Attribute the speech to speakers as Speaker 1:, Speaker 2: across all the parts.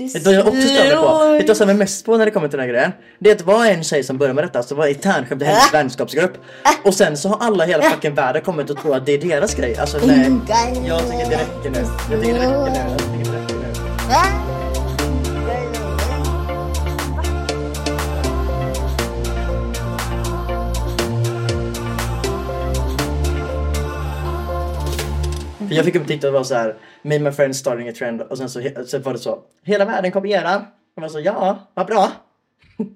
Speaker 1: Vet du vad jag också stör mig på? Vet du vad som är mest på när det kommer till den här grejen? Det är att det var en tjej som började med detta, Alltså, så var det internskämt i hennes vänskapsgrupp. Och sen så har alla i hela fucking världen kommit och tror att det är deras grej. Alltså nej. Jag tycker det räcker nu. Jag tycker det räcker nu. Jag tycker det räcker nu. För jag fick upp TikTok och var så här, me and my friends starting a trend och sen så, så var det så, hela världen kopierar. Och man så, ja, vad bra.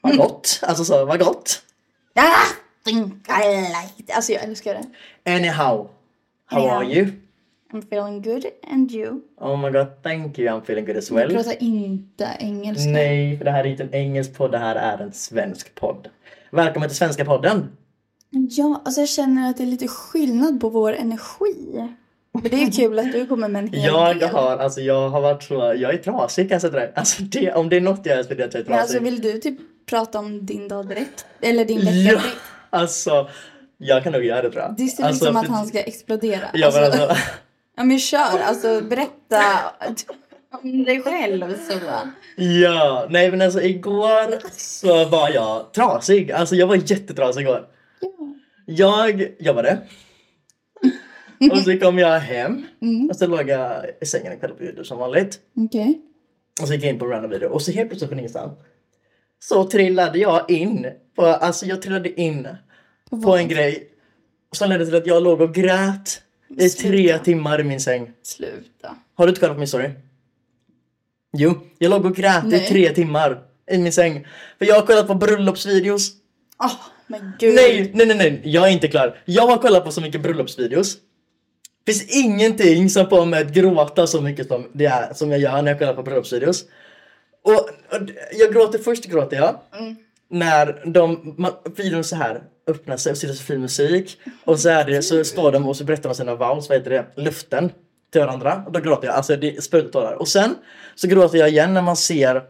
Speaker 1: vad gott, alltså så, vad gott.
Speaker 2: Ah, think I like. Alltså jag älskar det.
Speaker 1: Anyhow, how
Speaker 2: Ja.
Speaker 1: are you?
Speaker 2: I'm feeling good and you.
Speaker 1: Oh my god, thank you, I'm feeling good as well.
Speaker 2: Prata inte engelska.
Speaker 1: Nej, för det här är inte en engelsk podd, det här är en svensk podd. Välkommen till svenska podden.
Speaker 2: Ja, alltså jag känner att det är lite skillnad på vår energi. Men det är ju kul att du kommer med en hel
Speaker 1: Jag
Speaker 2: del.
Speaker 1: har, alltså jag har varit så, jag är trasig kan jag säga till dig. Alltså det, om det är något jag är så är det att jag är
Speaker 2: Men alltså
Speaker 1: trasig.
Speaker 2: vill du typ prata om din dag direkt? Eller din vecka
Speaker 1: Ja,
Speaker 2: direkt?
Speaker 1: alltså, jag kan nog göra det tror jag.
Speaker 2: Det ser ut
Speaker 1: alltså,
Speaker 2: som att
Speaker 1: för-
Speaker 2: han ska explodera.
Speaker 1: Ja men alltså,
Speaker 2: ja men kör, alltså berätta om dig själv Sula.
Speaker 1: ja, nej men alltså igår så var jag trasig. Alltså jag var jättetrasig igår.
Speaker 2: Ja.
Speaker 1: Jag jobbade. Och så kom jag hem.
Speaker 2: Mm.
Speaker 1: Och så låg jag i sängen och kollade på Youtube som vanligt.
Speaker 2: Okej.
Speaker 1: Och så gick jag in på en random video och så helt plötsligt från ingenstans så trillade jag in på, alltså jag trillade in på en grej som ledde till att jag låg och grät i tre
Speaker 2: Sluta.
Speaker 1: timmar i min säng.
Speaker 2: Sluta.
Speaker 1: Har du inte kollat på min story? Jo, jag låg och grät i
Speaker 2: Nej.
Speaker 1: tre timmar i min säng. För jag har kollat på bröllopsvideos.
Speaker 2: Åh men gud.
Speaker 1: Nej, nej, nej, nej, jag är inte klar. Jag har kollat på så mycket bröllopsvideos. Finns ingenting som får mig att gråta så mycket som, det är, som jag gör när jag kollar på bröllopsvideos. Och, och d- jag gråter, först gråter jag.
Speaker 2: Mm.
Speaker 1: När de, man, videon så här öppnar sig och sitter så fin musik. Och så, är det, så står de och så berättar de sina vows, vad heter det, löften till varandra. Och då gråter jag, alltså det sprutar tårar. Och sen så gråter jag igen när man ser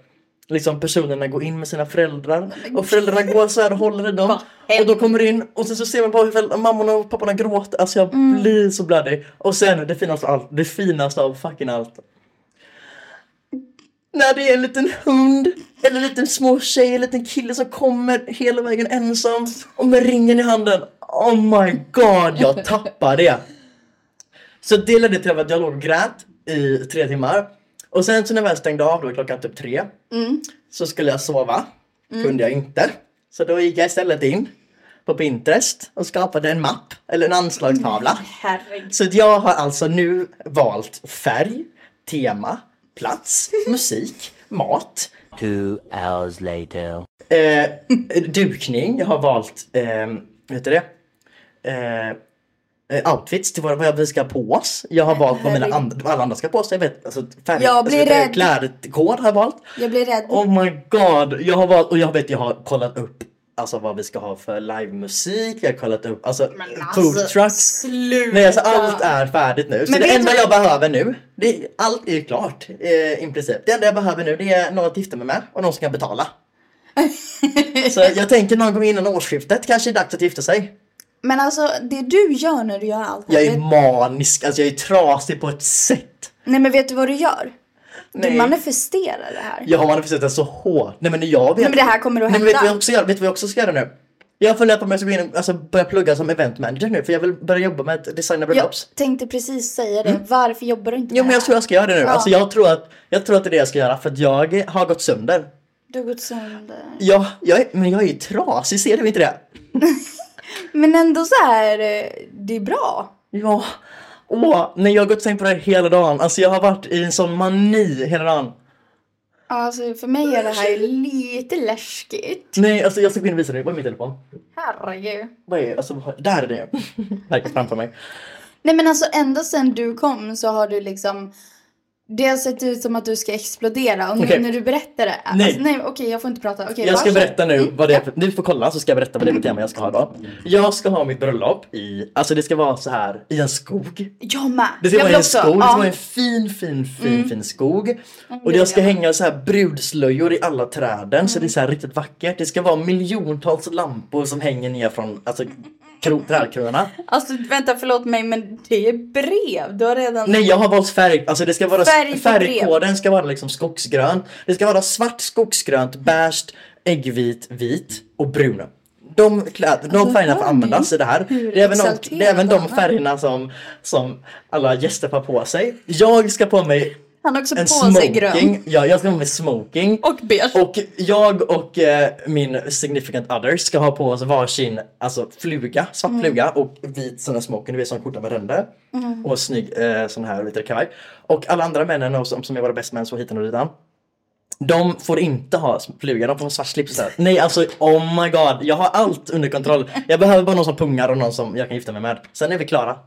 Speaker 1: liksom personerna gå in med sina föräldrar. Och föräldrarna går så här och håller i dem. Och då kommer det in och sen så ser man bara hur föräldrar- mammorna och papporna gråter. Alltså jag blir så blödig. Och sen det finaste av allt, det finaste av fucking allt när det är en liten hund eller en liten små tjej, en liten kille som kommer hela vägen ensam och med ringen i handen. Oh my god, jag tappar det. Så det ledde till att jag låg och grät i tre timmar. Och sen så när jag väl stängde av då klockan typ tre
Speaker 2: Mm.
Speaker 1: så skulle jag sova. Kunde jag inte. Så då gick jag istället in på Pinterest och skapade en mapp eller en anslagstavla.
Speaker 2: Herregud.
Speaker 1: Så att jag har alltså nu valt färg, tema, plats, musik, mat,
Speaker 3: Two hours later.
Speaker 1: eh, dukning. Jag har valt, eh, vad heter det? Eh, eh, outfits till vad, vad vi ska ha på oss. Jag har valt vad mina and- vad alla andra ska ha på sig. Jag vet, alltså, färg,
Speaker 2: Jag
Speaker 1: alltså,
Speaker 2: blir
Speaker 1: eh,
Speaker 2: rädd.
Speaker 1: Klädkod har jag valt.
Speaker 2: Jag blir rädd.
Speaker 1: Oh my god! Jag har valt, och jag vet jag har kollat upp Alltså vad vi ska ha för livemusik, jag har kollat upp alltså, food trucks.
Speaker 2: Sluta.
Speaker 1: Nej, alltså allt är färdigt nu. Så
Speaker 2: Men
Speaker 1: det
Speaker 2: vet
Speaker 1: enda
Speaker 2: du-
Speaker 1: jag behöver nu, det, allt är ju klart eh, i princip. Det enda jag behöver nu det är någon att gifta mig med och någon som kan betala. Så jag tänker någon gång innan årsskiftet kanske är det dags att gifta sig.
Speaker 2: Men alltså det du gör när du gör allt det
Speaker 1: Jag är
Speaker 2: här.
Speaker 1: manisk, alltså jag är trasig på ett sätt.
Speaker 2: Nej men vet du vad du gör? Du
Speaker 1: Nej.
Speaker 2: manifesterar det här.
Speaker 1: Jag har manifesterat det så hårt. Nej men jag vet.
Speaker 2: Nej, men det här kommer att
Speaker 1: Nej, men vet du vad jag
Speaker 2: hända.
Speaker 1: också gör? Vet du vad jag också ska göra nu? Jag har funderat på om jag ska gå in och alltså, börja plugga som event manager nu för jag vill börja jobba med att designa
Speaker 2: Jag
Speaker 1: bröllops.
Speaker 2: tänkte precis säga det. Varför jobbar du inte
Speaker 1: Jo
Speaker 2: med
Speaker 1: Mm. men jag
Speaker 2: det
Speaker 1: tror
Speaker 2: här?
Speaker 1: jag ska göra det nu.
Speaker 2: Ja.
Speaker 1: Alltså jag tror, att, jag tror att det är det jag ska göra för att jag har gått sönder.
Speaker 2: Du har gått sönder.
Speaker 1: Ja, jag är, men jag är ju trasig, ser du inte det?
Speaker 2: Men ändå så här, eh, det är bra.
Speaker 1: Ja. Åh, nej jag har gått tänkt på det här hela dagen. Alltså jag har varit i en sån mani hela dagen.
Speaker 2: Alltså för mig är det här lite läskigt.
Speaker 1: Nej, alltså jag ska gå in och visa dig. Var är min telefon?
Speaker 2: Herregud.
Speaker 1: Vad är, alltså, vad- där är det. Verkar framför mig.
Speaker 2: Nej men alltså ända sedan du kom så har du liksom det har sett ut som att du ska explodera och nu
Speaker 1: Okej.
Speaker 2: när du berättar det.
Speaker 1: Nej.
Speaker 2: Alltså, nej okej jag får inte prata. Okej,
Speaker 1: Jag ska
Speaker 2: varsågod.
Speaker 1: berätta nu vad det är för, Du får kolla så ska jag berätta vad det är för tema jag ska ha då. Jag ska ha mitt bröllop i, alltså det ska vara så här i en skog.
Speaker 2: Jag med.
Speaker 1: Det ska
Speaker 2: jag
Speaker 1: vara i
Speaker 2: vill
Speaker 1: en
Speaker 2: också.
Speaker 1: skog, det
Speaker 2: Ja. Mm.
Speaker 1: ska vara en fin, fin, fin, fin skog. Och
Speaker 2: det
Speaker 1: det ska
Speaker 2: vill jag.
Speaker 1: hänga så här brudslöjor i alla
Speaker 2: Mm.
Speaker 1: träden så det är så här riktigt vackert. Det ska vara miljontals lampor som hänger ner från alltså, kro- trädkronorna.
Speaker 2: Alltså vänta förlåt mig men det är brev. Du har redan...
Speaker 1: Nej jag har valt färg, alltså det ska vara
Speaker 2: Färg på
Speaker 1: färgkoden ska vara liksom skogsgrönt. Det ska vara svart, skogsgrönt, beige, äggvit, vit och brun. De, kläder, de
Speaker 2: Alltså,
Speaker 1: färgerna får
Speaker 2: hör ni
Speaker 1: anvädas i det här.
Speaker 2: hur
Speaker 1: Det är även, de,
Speaker 2: exalterad
Speaker 1: det är även de
Speaker 2: han är?
Speaker 1: färgerna som, som alla gäster får på sig. Jag ska på mig
Speaker 2: Han har också
Speaker 1: en
Speaker 2: på sig grön.
Speaker 1: smoking. Ja, jag ska ha på mig smoking.
Speaker 2: Och beige.
Speaker 1: Och jag och eh, min significant other ska ha på oss varsin alltså, fluga, svart
Speaker 2: Mm.
Speaker 1: fluga och vit sån här smoking, du vet sån skjorta med ränder.
Speaker 2: Mm.
Speaker 1: Och snygg eh, sån här lite kavaj. Och alla andra männen och som, som är våra bästa män så hit och ditan. De får inte ha sm- fluga, de får ha svart slips där. Nej alltså oh my god, jag har allt under kontroll. Jag behöver bara någon som pungar och någon som jag kan gifta mig med. Sen är vi klara.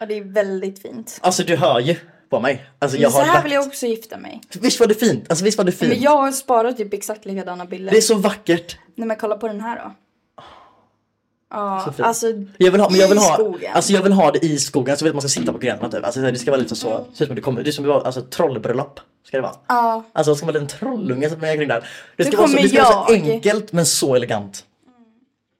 Speaker 2: Ja, det är väldigt fint.
Speaker 1: Alltså du hör ju på mig. Alltså, jag
Speaker 2: Men så
Speaker 1: har
Speaker 2: här
Speaker 1: lagt-
Speaker 2: vill jag också gifta mig.
Speaker 1: Visst var det fint? Alltså visst var det fint?
Speaker 2: Men jag har sparat typ exakt likadana bilder.
Speaker 1: Det är så vackert.
Speaker 2: Nej men kolla på den här då. Ja,
Speaker 1: fint.
Speaker 2: alltså.
Speaker 1: Jag vill ha, men jag vill
Speaker 2: I
Speaker 1: ha,
Speaker 2: skogen.
Speaker 1: alltså jag vill ha det i skogen så vet man ska sitta på grenarna typ. Alltså det ska vara lite så, det ser ut som det kommer, det är som att vara- alltså, trollbröllop. Ska det vara.
Speaker 2: Mm. Ja.
Speaker 1: Alltså det ska vara en liten trollunge som är kring där. Det ska,
Speaker 2: Nu
Speaker 1: vara så,
Speaker 2: kommer
Speaker 1: det ska vara så
Speaker 2: jag.
Speaker 1: enkelt men så elegant.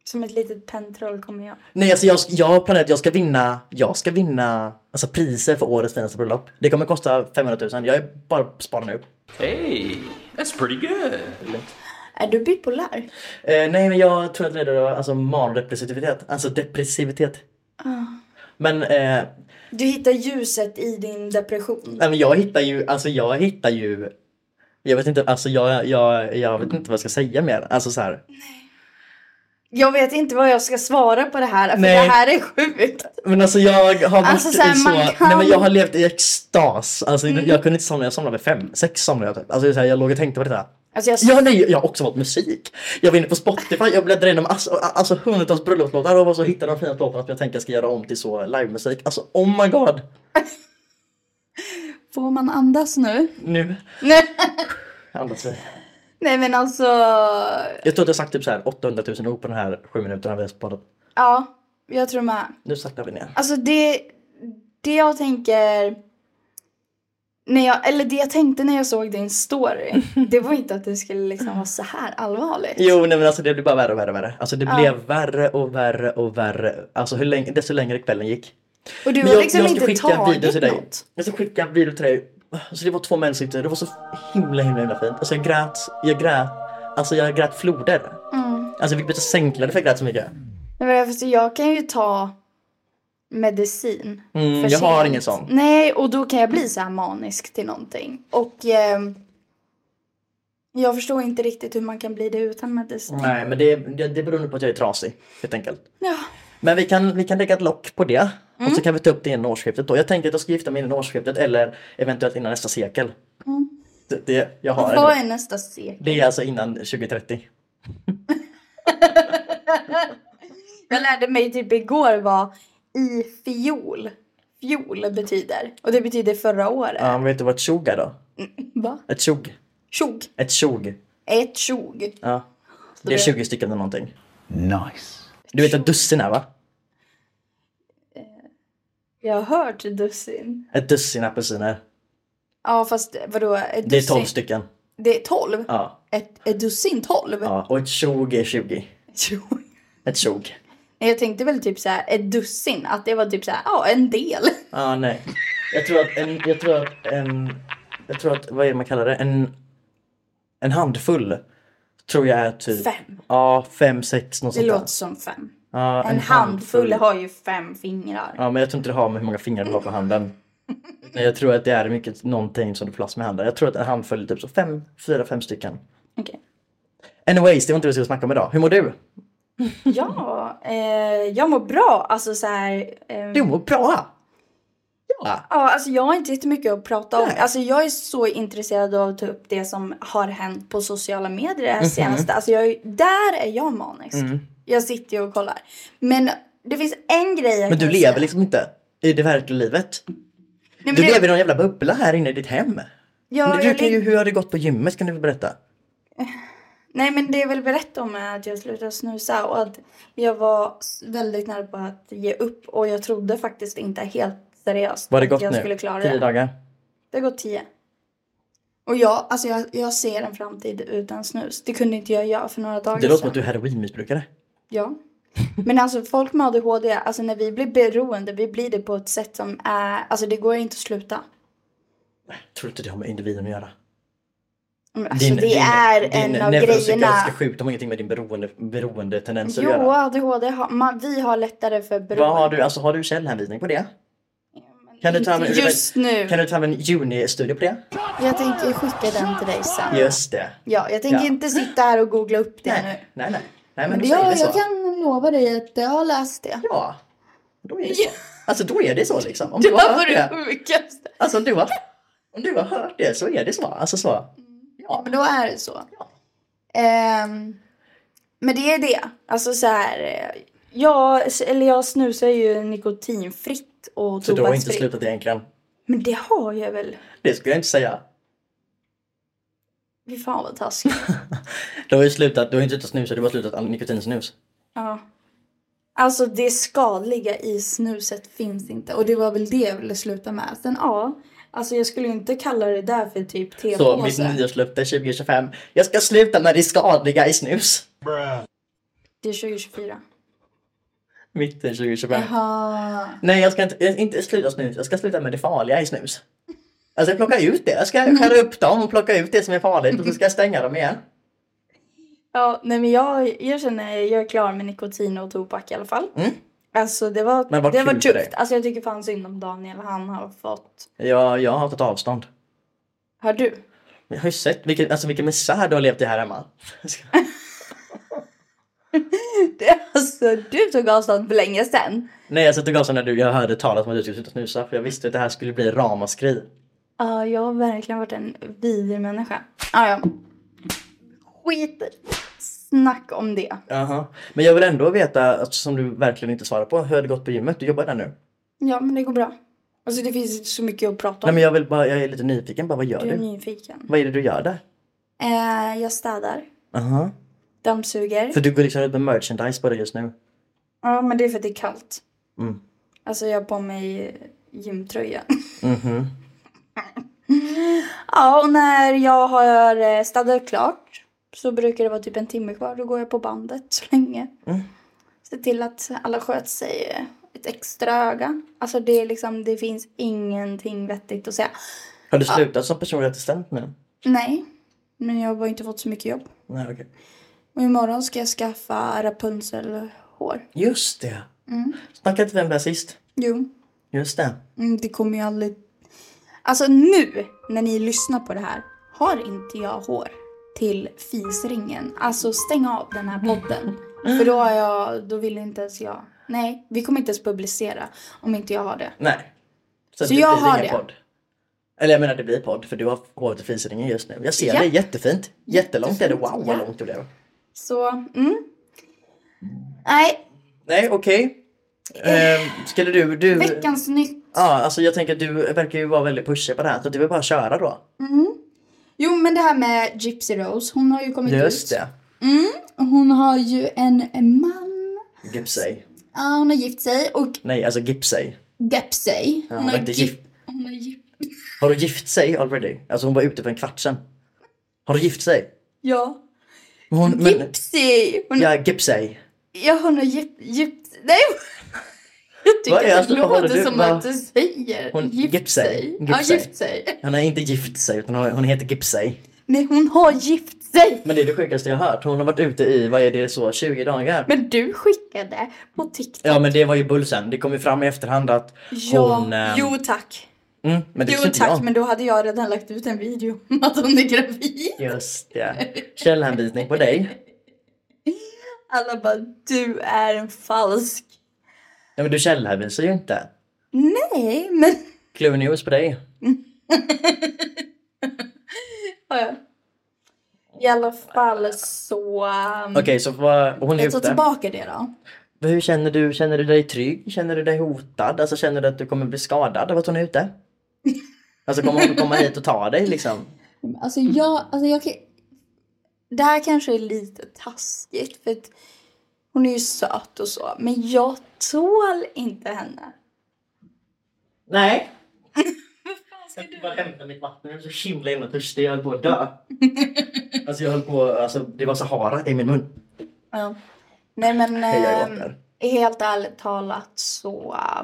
Speaker 2: Som ett litet pentroll kommer jag.
Speaker 1: Nej alltså jag, jag har planerat, jag ska vinna, jag ska vinna alltså, priser för årets finaste bröllop. Det kommer kosta 500 000, jag är bara sparar nu.
Speaker 4: Hey, that's pretty good.
Speaker 2: Är du bipolär?
Speaker 1: Eh, nej men jag tror att det är alltså mandepressivitet, alltså depressivitet. Men eh,
Speaker 2: Du hittar ljuset i din depression.
Speaker 1: Nej men jag hittar ju, alltså jag hittar ju Jag vet inte, alltså jag, jag, jag vet inte vad jag ska säga mer, alltså så här.
Speaker 2: Jag vet inte vad jag ska svara på det här. För
Speaker 1: Nej.
Speaker 2: det här är sjukt.
Speaker 1: Men alltså jag har varit
Speaker 2: Alltså, så här,
Speaker 1: i så,
Speaker 2: man kan- Mm.
Speaker 1: nej men jag har levt i extas Alltså jag kunde inte somna, jag somnade vid fem, sex somnade jag typ Alltså det är så här, jag låg och tänkte på det där
Speaker 2: Alltså jag...
Speaker 1: Ja nej, jag har också valt musik Jag var inne på Spotify, jag bläddrade igenom alltså, alltså hundratals bröllopslåtar och så hittade jag de fina låtarna som jag tänker jag ska göra om till så livemusik Alltså oh my god!
Speaker 2: Får man andas nu?
Speaker 1: Nu
Speaker 2: Nej.
Speaker 1: andas vi
Speaker 2: Nej men alltså.
Speaker 1: Jag tror att jag sagt typ så här 800 000 ord på den här sju minuterna vi har poddat
Speaker 2: Ja, jag tror med.
Speaker 1: Nu saktar vi ner
Speaker 2: Alltså det, det jag tänker, när jag, eller det jag tänkte när jag såg din story, det var inte att det skulle liksom vara så här allvarligt.
Speaker 1: Jo nej men alltså det blev bara värre och värre och värre. Alltså det
Speaker 2: Ja.
Speaker 1: blev värre och värre och värre. Alltså hur länge, desto längre kvällen gick.
Speaker 2: Och du
Speaker 1: Men
Speaker 2: har liksom inte
Speaker 1: skicka en video
Speaker 2: tagit
Speaker 1: till dig.
Speaker 2: något.
Speaker 1: Jag ska skicka en video till dig. Alltså det var två män som sitter. Det var så himla himla himla fint. Alltså jag grät, jag grät. Alltså jag grät floder.
Speaker 2: Mm.
Speaker 1: Alltså jag fick byta sängkläder för jag grät så mycket.
Speaker 2: Nej, men jag, förstår, jag kan ju ta medicin.
Speaker 1: Mm,
Speaker 2: för
Speaker 1: jag har
Speaker 2: sent.
Speaker 1: ingen sån.
Speaker 2: Nej, och då kan jag bli så här manisk till någonting. Och ehm, jag förstår inte riktigt hur man kan bli det utan medicin.
Speaker 1: Nej men det, det, det beror nog på att jag är trasig helt enkelt.
Speaker 2: Ja.
Speaker 1: Men vi kan, vi kan lägga ett lock på det. Och så
Speaker 2: Mm.
Speaker 1: kan vi ta upp det innan årsskiftet då. Jag tänkte att jag ska gifta mig innan årsskiftet eller eventuellt innan nästa sekel. Det, det, jag har en-
Speaker 2: Mm. Vad är nästa steg?
Speaker 1: Det är alltså innan 2030.
Speaker 2: Jag lärde mig typ igår vad i fjol. Fjol betyder. Och det betyder förra året.
Speaker 1: Ja, men vet du vad ett tjog är då?
Speaker 2: Va?
Speaker 1: Ett tjog.
Speaker 2: Tjog.
Speaker 1: Ett tjog.
Speaker 2: Ett tjog.
Speaker 1: Ja. Det är 20 stycken eller någonting.
Speaker 4: Nice.
Speaker 1: Du vet vad dussin är va?
Speaker 2: Jag har hört dussin.
Speaker 1: Ett dussin apelsiner.
Speaker 2: Ja fast vadå? Ett
Speaker 1: Det är
Speaker 2: dussin-
Speaker 1: 12 stycken.
Speaker 2: Det är tolv?
Speaker 1: Ja.
Speaker 2: Ett, ett dussin tolv?
Speaker 1: ja. Och ett tjog är 20.
Speaker 2: Tjog.
Speaker 1: Ett tjog.
Speaker 2: Nej, Jag tänkte väl typ såhär ett dussin. Att det var typ såhär, ja en del.
Speaker 1: Ja, nej. Jag tror att en, jag tror att en, jag tror att, vad är det man kallar det? En, en handfull. Tror jag är typ.
Speaker 2: Fem.
Speaker 1: Ja, fem, sex, något
Speaker 2: Det
Speaker 1: sånt där.
Speaker 2: låter som fem.
Speaker 1: Ja,
Speaker 2: En handfull har ju fem fingrar.
Speaker 1: Ja, men jag tror inte det har med hur många fingrar du har på handen. Nej, jag tror att det är mycket någonting som du får plats med handen. Jag tror att en handfull är typ så fem, fyra, fem stycken.
Speaker 2: Okej.
Speaker 1: Anyways, det var inte det vi skulle snacka om idag. Hur mår du?
Speaker 2: Ja, eh, jag mår bra. Alltså såhär. ehm,
Speaker 1: Du mår bra! Ja!
Speaker 2: Ja, alltså jag har inte jättemycket att prata om.
Speaker 1: Nej.
Speaker 2: Alltså jag är så intresserad av att ta upp det som har hänt på sociala medier
Speaker 1: Mhm.
Speaker 2: det här senaste. Alltså jag, är- där är jag manisk.
Speaker 1: Mm.
Speaker 2: Jag sitter ju och kollar. Men det finns en grej jag
Speaker 1: Men du
Speaker 2: kan
Speaker 1: lever
Speaker 2: säga.
Speaker 1: liksom inte i det verkliga livet.
Speaker 2: Nej, men
Speaker 1: Du
Speaker 2: det-
Speaker 1: lever i någon jävla bubbla här inne i ditt hem.
Speaker 2: Ja,
Speaker 1: du
Speaker 2: jag
Speaker 1: kan ju,
Speaker 2: lig-
Speaker 1: hur har det gått på gymmet kan du väl berätta?
Speaker 2: Nej men det jag vill berätta om är att jag slutade snusa och att jag var s- väldigt nära på att ge upp och jag trodde faktiskt inte helt seriöst
Speaker 1: Vad har det
Speaker 2: att
Speaker 1: gått
Speaker 2: jag
Speaker 1: nu?
Speaker 2: skulle klara
Speaker 1: Tio
Speaker 2: det.
Speaker 1: dagar?
Speaker 2: Det har gått tio. Och jag, alltså jag, jag ser en framtid utan snus. Det kunde inte jag göra för några dagar
Speaker 1: Det låter som
Speaker 2: sedan.
Speaker 1: att du är heroinmissbrukare.
Speaker 2: Ja. Men alltså folk med ADHD, alltså när vi blir beroende, vi blir det på ett sätt som är, alltså det går inte att sluta.
Speaker 1: Tror inte det har med individen att göra.
Speaker 2: Men Alltså det är en av grejerna.
Speaker 1: neuropsykiatriska sjukdom har ingenting med din beroende, beroendetendens att
Speaker 2: Jo,
Speaker 1: göra.
Speaker 2: ADHD, har, man, vi har lättare för beroende.
Speaker 1: Vad har du, alltså har du källhänvisning på det?
Speaker 2: Men
Speaker 1: Kan du ta
Speaker 2: inte
Speaker 1: med-
Speaker 2: Just nu.
Speaker 1: Kan du ta en junistudie på det?
Speaker 2: Jag tänker skicka den till dig sen.
Speaker 1: Just det.
Speaker 2: Ja, jag tänker
Speaker 1: Ja.
Speaker 2: inte sitta här och googla upp det nu.
Speaker 1: Nej, nej, nej. nej men
Speaker 2: Men
Speaker 1: då säger
Speaker 2: jag,
Speaker 1: vi så.
Speaker 2: jag kan lova dig att jag har läst det.
Speaker 1: Ja, då är det så. Alltså då är det så liksom. Om
Speaker 2: Det
Speaker 1: du har
Speaker 2: var
Speaker 1: hört
Speaker 2: det
Speaker 1: det,
Speaker 2: sjukaste.
Speaker 1: alltså om du har, om du har hört det så är det så. Alltså så. Ja.
Speaker 2: Men då är det så.
Speaker 1: Ja.
Speaker 2: Ehm, men det är det. Alltså så här. eh, Jag, eller jag snusar ju nikotinfritt och
Speaker 1: Så du har inte
Speaker 2: tobaksfritt.
Speaker 1: slutat egentligen.
Speaker 2: Men det har jag väl.
Speaker 1: Det skulle jag inte säga.
Speaker 2: Fy fan vad taskigt.
Speaker 1: Du har ju slutat, du har inte slutat snusa, du har bara slutat all nikotinsnus.
Speaker 2: ja. Alltså det skadliga i snuset finns inte. Och det var väl det jag ville sluta med. Sen ja. Alltså jag skulle ju inte kalla det där för typ
Speaker 1: Så mitt
Speaker 2: tepåse.
Speaker 1: nyårslöfte 2025, jag ska sluta med det skadliga i snus.
Speaker 2: Det är 2024.
Speaker 1: Mitten 2025.
Speaker 2: Jaha.
Speaker 1: Nej, jag ska inte, jag, inte sluta snus. Jag ska sluta med det farliga i snus. Alltså jag plockar ut det. Jag ska skära upp dem och plocka ut det som är farligt och så ska jag stänga dem igen.
Speaker 2: Ja, nej men jag, jag känner jag är klar med nikotin och tobak i alla fall.
Speaker 1: Mm.
Speaker 2: Alltså det var,
Speaker 1: Men vad
Speaker 2: det
Speaker 1: kul
Speaker 2: var
Speaker 1: för dig.
Speaker 2: tufft. Alltså jag tycker fan synd om Daniel. Han har fått...
Speaker 1: Jag, jag har tagit avstånd.
Speaker 2: Hör du?
Speaker 1: Jag har ju sett vilken, alltså vilken misär du har levt i här hemma.
Speaker 2: Det, alltså du tog avstånd för länge sedan.
Speaker 1: Nej, alltså det gav så när du, jag hörde talas om att du skulle sluta snusa för jag visste att det här skulle bli ramaskri.
Speaker 2: Ja, jag har verkligen varit en vidrig människa. Ah, ja. Skit snack om det.
Speaker 1: Jaha. Men jag vill ändå veta, alltså, som du verkligen inte svarar på, hur har det gått på gymmet? Du jobbar där nu?
Speaker 2: Ja, men det går bra. Alltså det finns inte så mycket att prata
Speaker 1: Nej
Speaker 2: om.
Speaker 1: men jag vill bara, jag är lite nyfiken bara, vad gör
Speaker 2: Jag är
Speaker 1: du?
Speaker 2: nyfiken.
Speaker 1: Vad är det du gör där?
Speaker 2: Eh, jag städar.
Speaker 1: Aha.
Speaker 2: Dammsuger.
Speaker 1: För du går liksom ut med merchandise på det just nu?
Speaker 2: Ja, men det är för att det är kallt.
Speaker 1: Mm.
Speaker 2: Alltså jag har på mig gymtröja.
Speaker 1: Mhm.
Speaker 2: Ja, och när jag har eh, städat klart så brukar det vara typ en timme kvar. Då går jag på bandet så länge.
Speaker 1: Mm.
Speaker 2: Se till att alla sköter sig eh, ett extra öga. Alltså det är liksom, det finns ingenting vettigt att säga.
Speaker 1: Har du slutat som personlig assistent nu?
Speaker 2: Nej, men jag har bara inte fått så mycket jobb.
Speaker 1: Nej okej.
Speaker 2: Och imorgon ska jag skaffa Rapunzel-hår.
Speaker 1: Just det!
Speaker 2: Mm.
Speaker 1: Snackade inte vi om det här sist?
Speaker 2: Jo,
Speaker 1: Just det.
Speaker 2: mm, det kommer ju aldrig... Alltså nu, när ni lyssnar på det här, har inte jag hår till fisringen. Alltså stäng av den här podden. För då, har jag, då vill inte ens jag... Nej, vi kommer inte ens publicera om inte jag har det.
Speaker 1: Nej.
Speaker 2: Så jag har
Speaker 1: ingen
Speaker 2: det.
Speaker 1: Podd. Eller jag menar det blir podd för du har håret i fisringen just nu. Jag ser
Speaker 2: Ja.
Speaker 1: det, jättefint. Jättelångt är det. Wow
Speaker 2: Ja.
Speaker 1: vad långt det blev.
Speaker 2: Så, mm. Nej,
Speaker 1: Nej okej. Ehm, skulle du... du...
Speaker 2: veckans nytt.
Speaker 1: Ja, alltså jag tänker att du verkar ju vara väldigt pushig på det här så du vill bara köra då.
Speaker 2: Jo, men det här med Gypsy Rose, hon har ju kommit
Speaker 1: Just
Speaker 2: ut.
Speaker 1: det.
Speaker 2: Hon har ju en man.
Speaker 1: Gipsey.
Speaker 2: Ja, hon har gift sig och
Speaker 1: Nej, alltså Gipsey.
Speaker 2: döpt sig.
Speaker 1: hon
Speaker 2: har
Speaker 1: var inte
Speaker 2: gif-
Speaker 1: gift.
Speaker 2: Hon har gift...
Speaker 1: Har du gift sig already? Alltså hon var ute för en kvart sedan. Har du gift sig?
Speaker 2: Ja.
Speaker 1: Men Hon, men,
Speaker 2: Gypsy! Hon,
Speaker 1: ja, Gipsey.
Speaker 2: Ja, hon har gip, gip, nej! Jag tycker
Speaker 1: Vad är
Speaker 2: att det
Speaker 1: det? Vad håller
Speaker 2: låter
Speaker 1: du-
Speaker 2: som
Speaker 1: vad-
Speaker 2: att du säger
Speaker 1: Hon-
Speaker 2: gift,
Speaker 1: gift sig.
Speaker 2: sig.
Speaker 1: Gift
Speaker 2: Ja,
Speaker 1: sig.
Speaker 2: gift sig.
Speaker 1: Hon har inte gift sig utan hon, hon heter Gipsey.
Speaker 2: Nej, hon har gift sig!
Speaker 1: Men det är det sjukaste jag har hört. Hon har varit ute i, vad är det så, 20 dagar?
Speaker 2: Men du skickade på TikTok.
Speaker 1: Ja men det var ju bullsen. Det kom ju fram i efterhand att
Speaker 2: Ja,
Speaker 1: hon... ehm,
Speaker 2: jo tack.
Speaker 1: mm, men det
Speaker 2: Jo
Speaker 1: visste inte
Speaker 2: tack,
Speaker 1: jag.
Speaker 2: men då hade jag redan lagt ut en video om att hon är gravid.
Speaker 1: Just det. Källhänvisning på dig.
Speaker 2: Alla bara, du är en falsk.
Speaker 1: Nej men du källhänvisar ju inte.
Speaker 2: Nej, men...
Speaker 1: Clue news på dig.
Speaker 2: Mm. Ja, ja. I alla fall så... ehm,
Speaker 1: Okej så vad, hon är
Speaker 2: Jag tar
Speaker 1: ute.
Speaker 2: tillbaka det då.
Speaker 1: Hur känner du? Känner du dig trygg? Känner du dig hotad? Alltså känner du att du kommer bli skadad av att hon är ute? Alltså kommer hon komma hit och ta dig liksom?
Speaker 2: Alltså jag, alltså jag kan... Det här kanske är lite taskigt för att hon är ju söt och så. Men jag tål inte henne.
Speaker 1: Nej. Jag ska bara hämta mitt vatten, jag är så himla himla törstig, jag höll på att dö. Alltså jag höll på, alltså det var Sahara i min mun.
Speaker 2: Ja. Nej men
Speaker 1: Heja
Speaker 2: ehm,
Speaker 1: Walker.
Speaker 2: helt ärligt talat så... eh,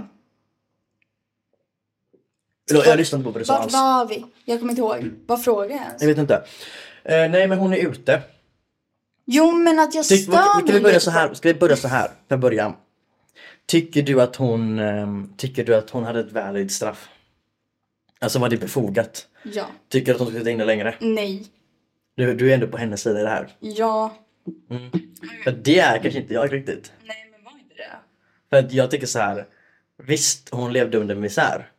Speaker 1: Eller, Jag lyssnade inte på vad du sa
Speaker 2: Vart
Speaker 1: alls. Mm.
Speaker 2: var vi? Jag kommer inte ihåg. Vad frågade jag ens?
Speaker 1: Jag vet inte. Eh, nej, men hon är ute.
Speaker 2: Jo men att jag
Speaker 1: Tyck,
Speaker 2: stör
Speaker 1: ska,
Speaker 2: mig
Speaker 1: vi börja
Speaker 2: lite.
Speaker 1: så här? ska vi börja så här från början? Tycker du att hon, ehm, tycker du att hon hade ett valid straff? Alltså var det befogat?
Speaker 2: Ja.
Speaker 1: Tycker du att hon skulle sitta inne längre?
Speaker 2: Nej.
Speaker 1: Du, du är ändå på hennes sida i det
Speaker 2: Mm.
Speaker 1: här.
Speaker 2: Ja.
Speaker 1: För det är kanske inte jag riktigt.
Speaker 2: Nej men var inte det?
Speaker 1: För att jag tycker så här. Visst, hon levde under misär.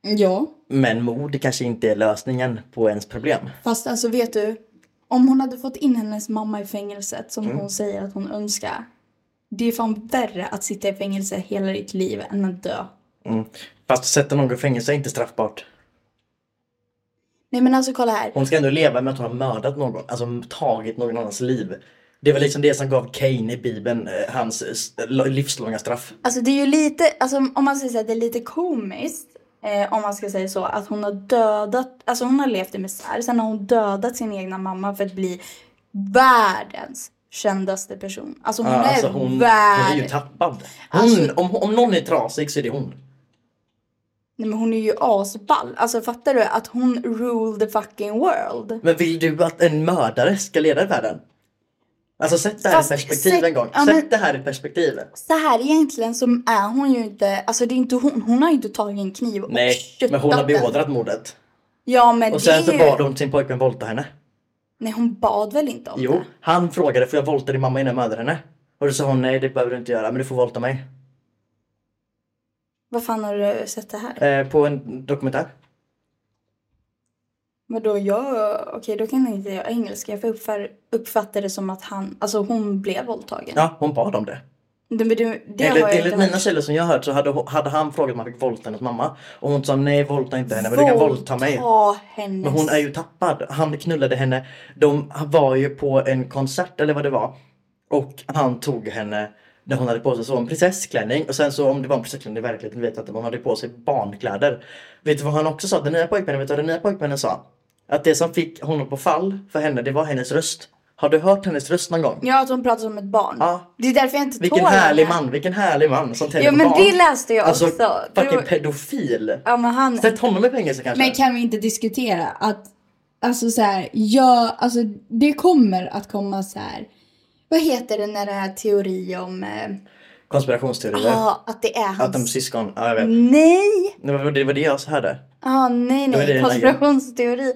Speaker 2: Ja.
Speaker 1: Men mord kanske inte är lösningen på ens problem.
Speaker 2: Fast alltså vet du, om hon hade fått in hennes mamma i fängelset som
Speaker 1: Mm.
Speaker 2: hon säger att hon önskar. Det är fan värre att sitta i fängelse hela ditt liv än att dö.
Speaker 1: Mm. Fast sätta någon i fängelse är inte straffbart.
Speaker 2: Nej men alltså kolla här.
Speaker 1: Hon ska ändå leva med att hon har mördat någon, alltså tagit någon annans liv. Det var liksom det som gav Cain i Bibeln eh, hans eh, s- l- livslånga straff.
Speaker 2: Alltså det är ju lite, alltså om man säger så här, det är lite komiskt. Eh, om man ska säga så, att hon har dödat, alltså hon har levt i misär. Sen har hon dödat sin egna mamma för att bli världens kändaste person. Alltså hon
Speaker 1: Ja,
Speaker 2: är
Speaker 1: alltså hon, hon är ju
Speaker 2: värd...
Speaker 1: tappad. Hon,
Speaker 2: Alltså-
Speaker 1: om, om någon är trasig så är det hon.
Speaker 2: Nej men hon är ju asball. Alltså fattar du? Att hon rule the fucking world.
Speaker 1: Men vill du att en mördare ska leda i världen? Alltså sätt det här
Speaker 2: Fast
Speaker 1: i perspektiv
Speaker 2: sätt-
Speaker 1: en gång.
Speaker 2: ja,
Speaker 1: sätt
Speaker 2: men-
Speaker 1: det här i perspektiv.
Speaker 2: Så här egentligen så är hon ju inte, alltså det är inte hon, hon har ju inte tagit en kniv och
Speaker 1: Nej, men hon har
Speaker 2: köttat den.
Speaker 1: beordrat mordet.
Speaker 2: Ja men
Speaker 1: Och
Speaker 2: det
Speaker 1: sen
Speaker 2: är
Speaker 1: så
Speaker 2: ju...
Speaker 1: bad hon sin pojkvän våldta henne.
Speaker 2: Nej hon bad väl inte om
Speaker 1: Jo,
Speaker 2: det?
Speaker 1: han frågade får jag våldta din mamma innan jag mördar henne? Och då sa hon nej det behöver du inte göra men du får våldta mig.
Speaker 2: Vad fan har du sett det här?
Speaker 1: Eh, på en dokumentär.
Speaker 2: Vadå jag, okej då kan jag inte jag engelska för jag uppfär- uppfattade det som att han, alltså hon blev våldtagen.
Speaker 1: Ja, hon bad om det.
Speaker 2: Det, men det, det har
Speaker 1: enligt
Speaker 2: jag
Speaker 1: enligt
Speaker 2: inte hört.
Speaker 1: mina källor som jag har hört så hade, hon- hade han frågat om han fick våldta hennes mamma. Och hon sa nej våldta inte henne men du kan våldta mig.
Speaker 2: Våldta hennes.
Speaker 1: Men hon är ju tappad. Han knullade henne. De var ju på en konsert eller vad det var. Och han tog henne när hon hade på sig så en prinsessklänning. Och sen så om det var en prinsessklänning i verkligheten vet jag inte. Men hon hade på sig barnkläder. Vet du vad han också sa? Den nya pojkvännen, vet du vad den nya pojkvännen sa? Att det som fick honom på fall för henne, det var hennes röst. Har du hört hennes röst någon gång?
Speaker 2: Ja att hon pratar som ett barn.
Speaker 1: Ja.
Speaker 2: Det är därför jag inte
Speaker 1: Vilken
Speaker 2: tål
Speaker 1: härlig
Speaker 2: henne.
Speaker 1: man, vilken härlig man som tänder
Speaker 2: Ja
Speaker 1: på
Speaker 2: men
Speaker 1: barn.
Speaker 2: det läste jag
Speaker 1: Alltså,
Speaker 2: också. Det
Speaker 1: fucking
Speaker 2: var-
Speaker 1: pedofil.
Speaker 2: Ja men han,
Speaker 1: Sätt honom i fängelse kanske.
Speaker 5: Men kan vi inte diskutera att, alltså så här, jag, alltså det kommer att komma så här.
Speaker 2: vad heter det när det är teori om, eh,
Speaker 1: Konspirationsteorier.
Speaker 2: ja att det är
Speaker 1: Att de är
Speaker 2: hans...
Speaker 1: syskon, ja jag vet.
Speaker 2: Nej!
Speaker 1: Det var det, var det jag hörde.
Speaker 2: Ja nej
Speaker 1: Det var det
Speaker 2: nej,
Speaker 1: den här
Speaker 2: konspirationsteori.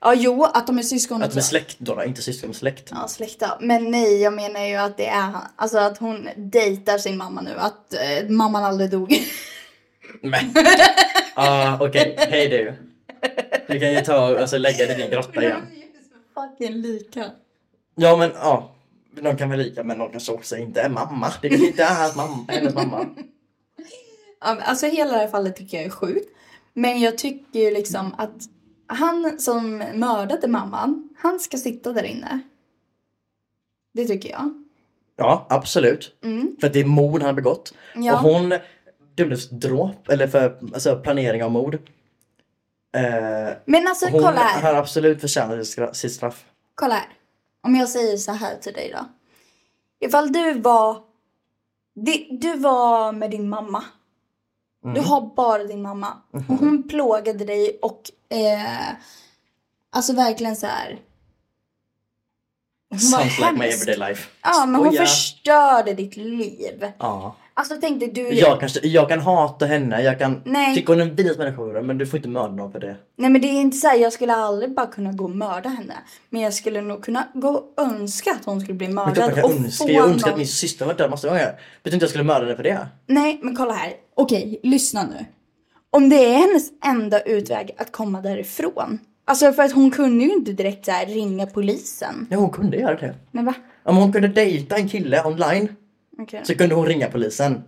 Speaker 2: Ja jo att de är syskon
Speaker 1: Att de är
Speaker 2: också.
Speaker 1: släkt då, då, inte syskon, men släkt.
Speaker 2: Mm. Ja släkta. Men nej jag menar ju att det är han, alltså att hon dejtar sin mamma nu. Att eh, mamman aldrig dog.
Speaker 1: Men. Ah, okej. Hej du. Du kan ju ta och alltså, lägga dig i din grotta igen.
Speaker 2: Fucking lika.
Speaker 1: Ja men ja. De kan väl lika men de kanske också inte är mamma. Det kanske inte är hans mamma, hennes mamma.
Speaker 2: Ja, men Alltså hela det här fallet tycker jag är sjukt. Men jag tycker ju liksom att han som mördade mamman, han ska sitta där inne. Det tycker jag.
Speaker 1: Ja absolut.
Speaker 2: Mm.
Speaker 1: För att det är mord han har begått.
Speaker 2: Ja.
Speaker 1: Och hon dömdes för dråp eller för alltså, planering av mord. Eh,
Speaker 2: Men alltså
Speaker 1: hon
Speaker 2: kolla här.
Speaker 1: har absolut förtjänat sitt stra- sitt straff.
Speaker 2: Kolla här. Om jag säger så här till dig då. Ifall du var... di- Du var med din mamma.
Speaker 1: Mm.
Speaker 2: Du har bara din mamma.
Speaker 1: Mhm.
Speaker 2: Och hon plågade dig och... Eh, alltså verkligen så här... Hon var
Speaker 1: Sounds like my
Speaker 2: hemsk.
Speaker 1: everyday life.
Speaker 2: Ja, men hon
Speaker 1: Skoja.
Speaker 2: förstörde ditt liv.
Speaker 1: Ja.
Speaker 2: Alltså tänk dig, du...
Speaker 1: Jag, kanske, jag kan hata henne, jag kan
Speaker 2: Nej.
Speaker 1: tycka hon är en vidrig människa men du får inte mörda någon för det.
Speaker 2: Nej men det är inte så här, jag skulle aldrig bara kunna gå och mörda henne. Men jag skulle nog kunna gå och önska att hon skulle bli
Speaker 1: Men klart
Speaker 2: mördad.
Speaker 1: jag kan
Speaker 2: och
Speaker 1: önska,
Speaker 2: få
Speaker 1: jag önskar att
Speaker 2: någon-
Speaker 1: min syster var död massa gånger. Betyder inte jag skulle mörda henne för det.
Speaker 2: Nej, men kolla här.
Speaker 5: Okej, lyssna nu.
Speaker 2: Om det är hennes enda utväg att komma därifrån. Alltså för att hon kunde ju inte direkt så här ringa polisen.
Speaker 1: Ja hon kunde göra det.
Speaker 2: Men va?
Speaker 1: Om hon kunde dejta en kille online
Speaker 2: Okej.
Speaker 1: så kunde hon ringa polisen.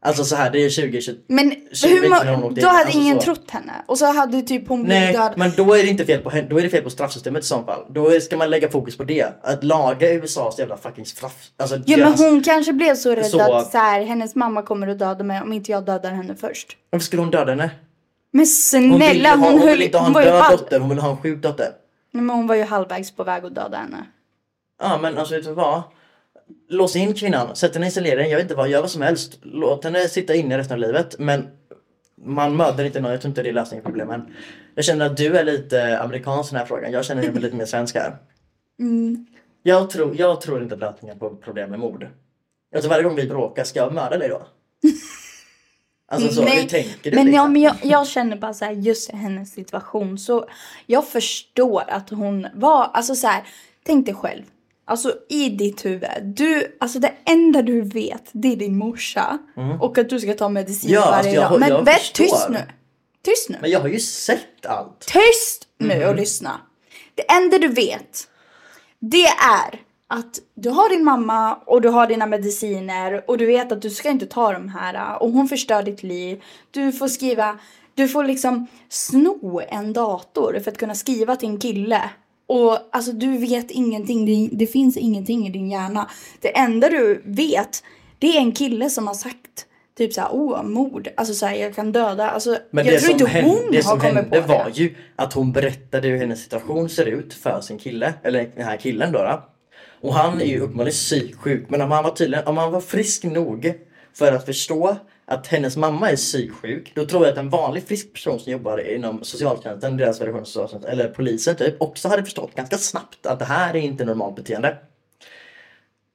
Speaker 1: Alltså så här, det är 2020.
Speaker 2: Men
Speaker 1: Så
Speaker 2: hur
Speaker 1: vet
Speaker 2: ma-
Speaker 1: vi om hon
Speaker 2: då hade
Speaker 1: alltså
Speaker 2: ingen
Speaker 1: så.
Speaker 2: trott henne. Och så hade typ hon blivit
Speaker 1: Nej,
Speaker 2: död.
Speaker 1: men då är det inte fel på henne. Då är det fel på straffsystemet i så fall. Då ska man lägga fokus på det. Att laga USAs jävla fucking straff. Alltså
Speaker 2: Jo men
Speaker 1: deras-
Speaker 2: hon kanske blev så rädd
Speaker 1: Så-
Speaker 2: att så här, hennes mamma kommer att döda mig om inte jag dödar henne först.
Speaker 1: Varför skulle hon döda henne?
Speaker 2: Men
Speaker 1: Hon, vill, ju
Speaker 2: snälla
Speaker 1: ha,
Speaker 2: hon,
Speaker 1: hon
Speaker 2: höll,
Speaker 1: vill inte ha en
Speaker 2: hon var ju
Speaker 1: död
Speaker 2: halv...
Speaker 1: dotter, hon vill ha en sjuk dotter.
Speaker 2: Nej, men hon var ju halvvägs på väg att döda henne.
Speaker 1: Ja men alltså vet du vad? lås in kvinnan, sätt henne i isolering, jag vet inte vad, gör vad som helst. Låt henne sitta inne resten av livet. Men man mördar inte någon, jag tror inte det är lösningen på problemen. Jag känner att du är lite amerikansk i den här frågan, jag känner mig lite mer svensk här.
Speaker 2: Mm.
Speaker 1: Jag tror, jag tror inte att lösningen på problem med mord. Alltså varje gång vi bråkar, ska jag mörda dig då? Alltså så, hur
Speaker 2: Nej,
Speaker 1: tänker du?
Speaker 2: Men, ja,
Speaker 1: liksom?
Speaker 2: men jag, jag känner bara så här, just i hennes situation så jag förstår att hon var, alltså så här, tänk dig själv. Alltså i ditt huvud, du, alltså det enda du vet det är din morsa och att du ska ta medicin
Speaker 1: Mm. Ja,
Speaker 2: varje
Speaker 1: alltså, jag-
Speaker 2: dag. Men
Speaker 1: jag
Speaker 2: vä-
Speaker 1: förstår.
Speaker 2: tyst nu. Tyst nu.
Speaker 1: men jag har ju sett allt.
Speaker 2: Tyst nu
Speaker 1: Mhm.
Speaker 2: och lyssna. Det enda du vet, det är att du har din mamma och du har dina mediciner och du vet att du ska inte ta de här äh, och hon förstör ditt liv. Du får skriva, du får liksom sno en dator för att kunna skriva till en kille. Och alltså du vet ingenting, det, det finns ingenting i din hjärna. Det enda du vet, det är en kille som har sagt typ såhär, åh mord, alltså såhär jag kan döda, alltså
Speaker 1: Men
Speaker 2: jag
Speaker 1: det
Speaker 2: tror
Speaker 1: som
Speaker 2: inte
Speaker 1: hände,
Speaker 2: hon
Speaker 1: det
Speaker 2: har
Speaker 1: som
Speaker 2: kommit på
Speaker 1: hände
Speaker 2: det.
Speaker 1: var ju att hon berättade hur hennes situation ser ut för sin kille, eller den här killen då. då. Och han är ju uppenbarligen psyksjuk, men om han var tydligen, om han var frisk nog för att förstå att hennes mamma är psyksjuk, då tror jag att en vanlig frisk person som jobbar inom socialtjänsten, deras version, socialtjänsten, eller polisen typ, också hade förstått ganska snabbt att det här är inte normalt beteende.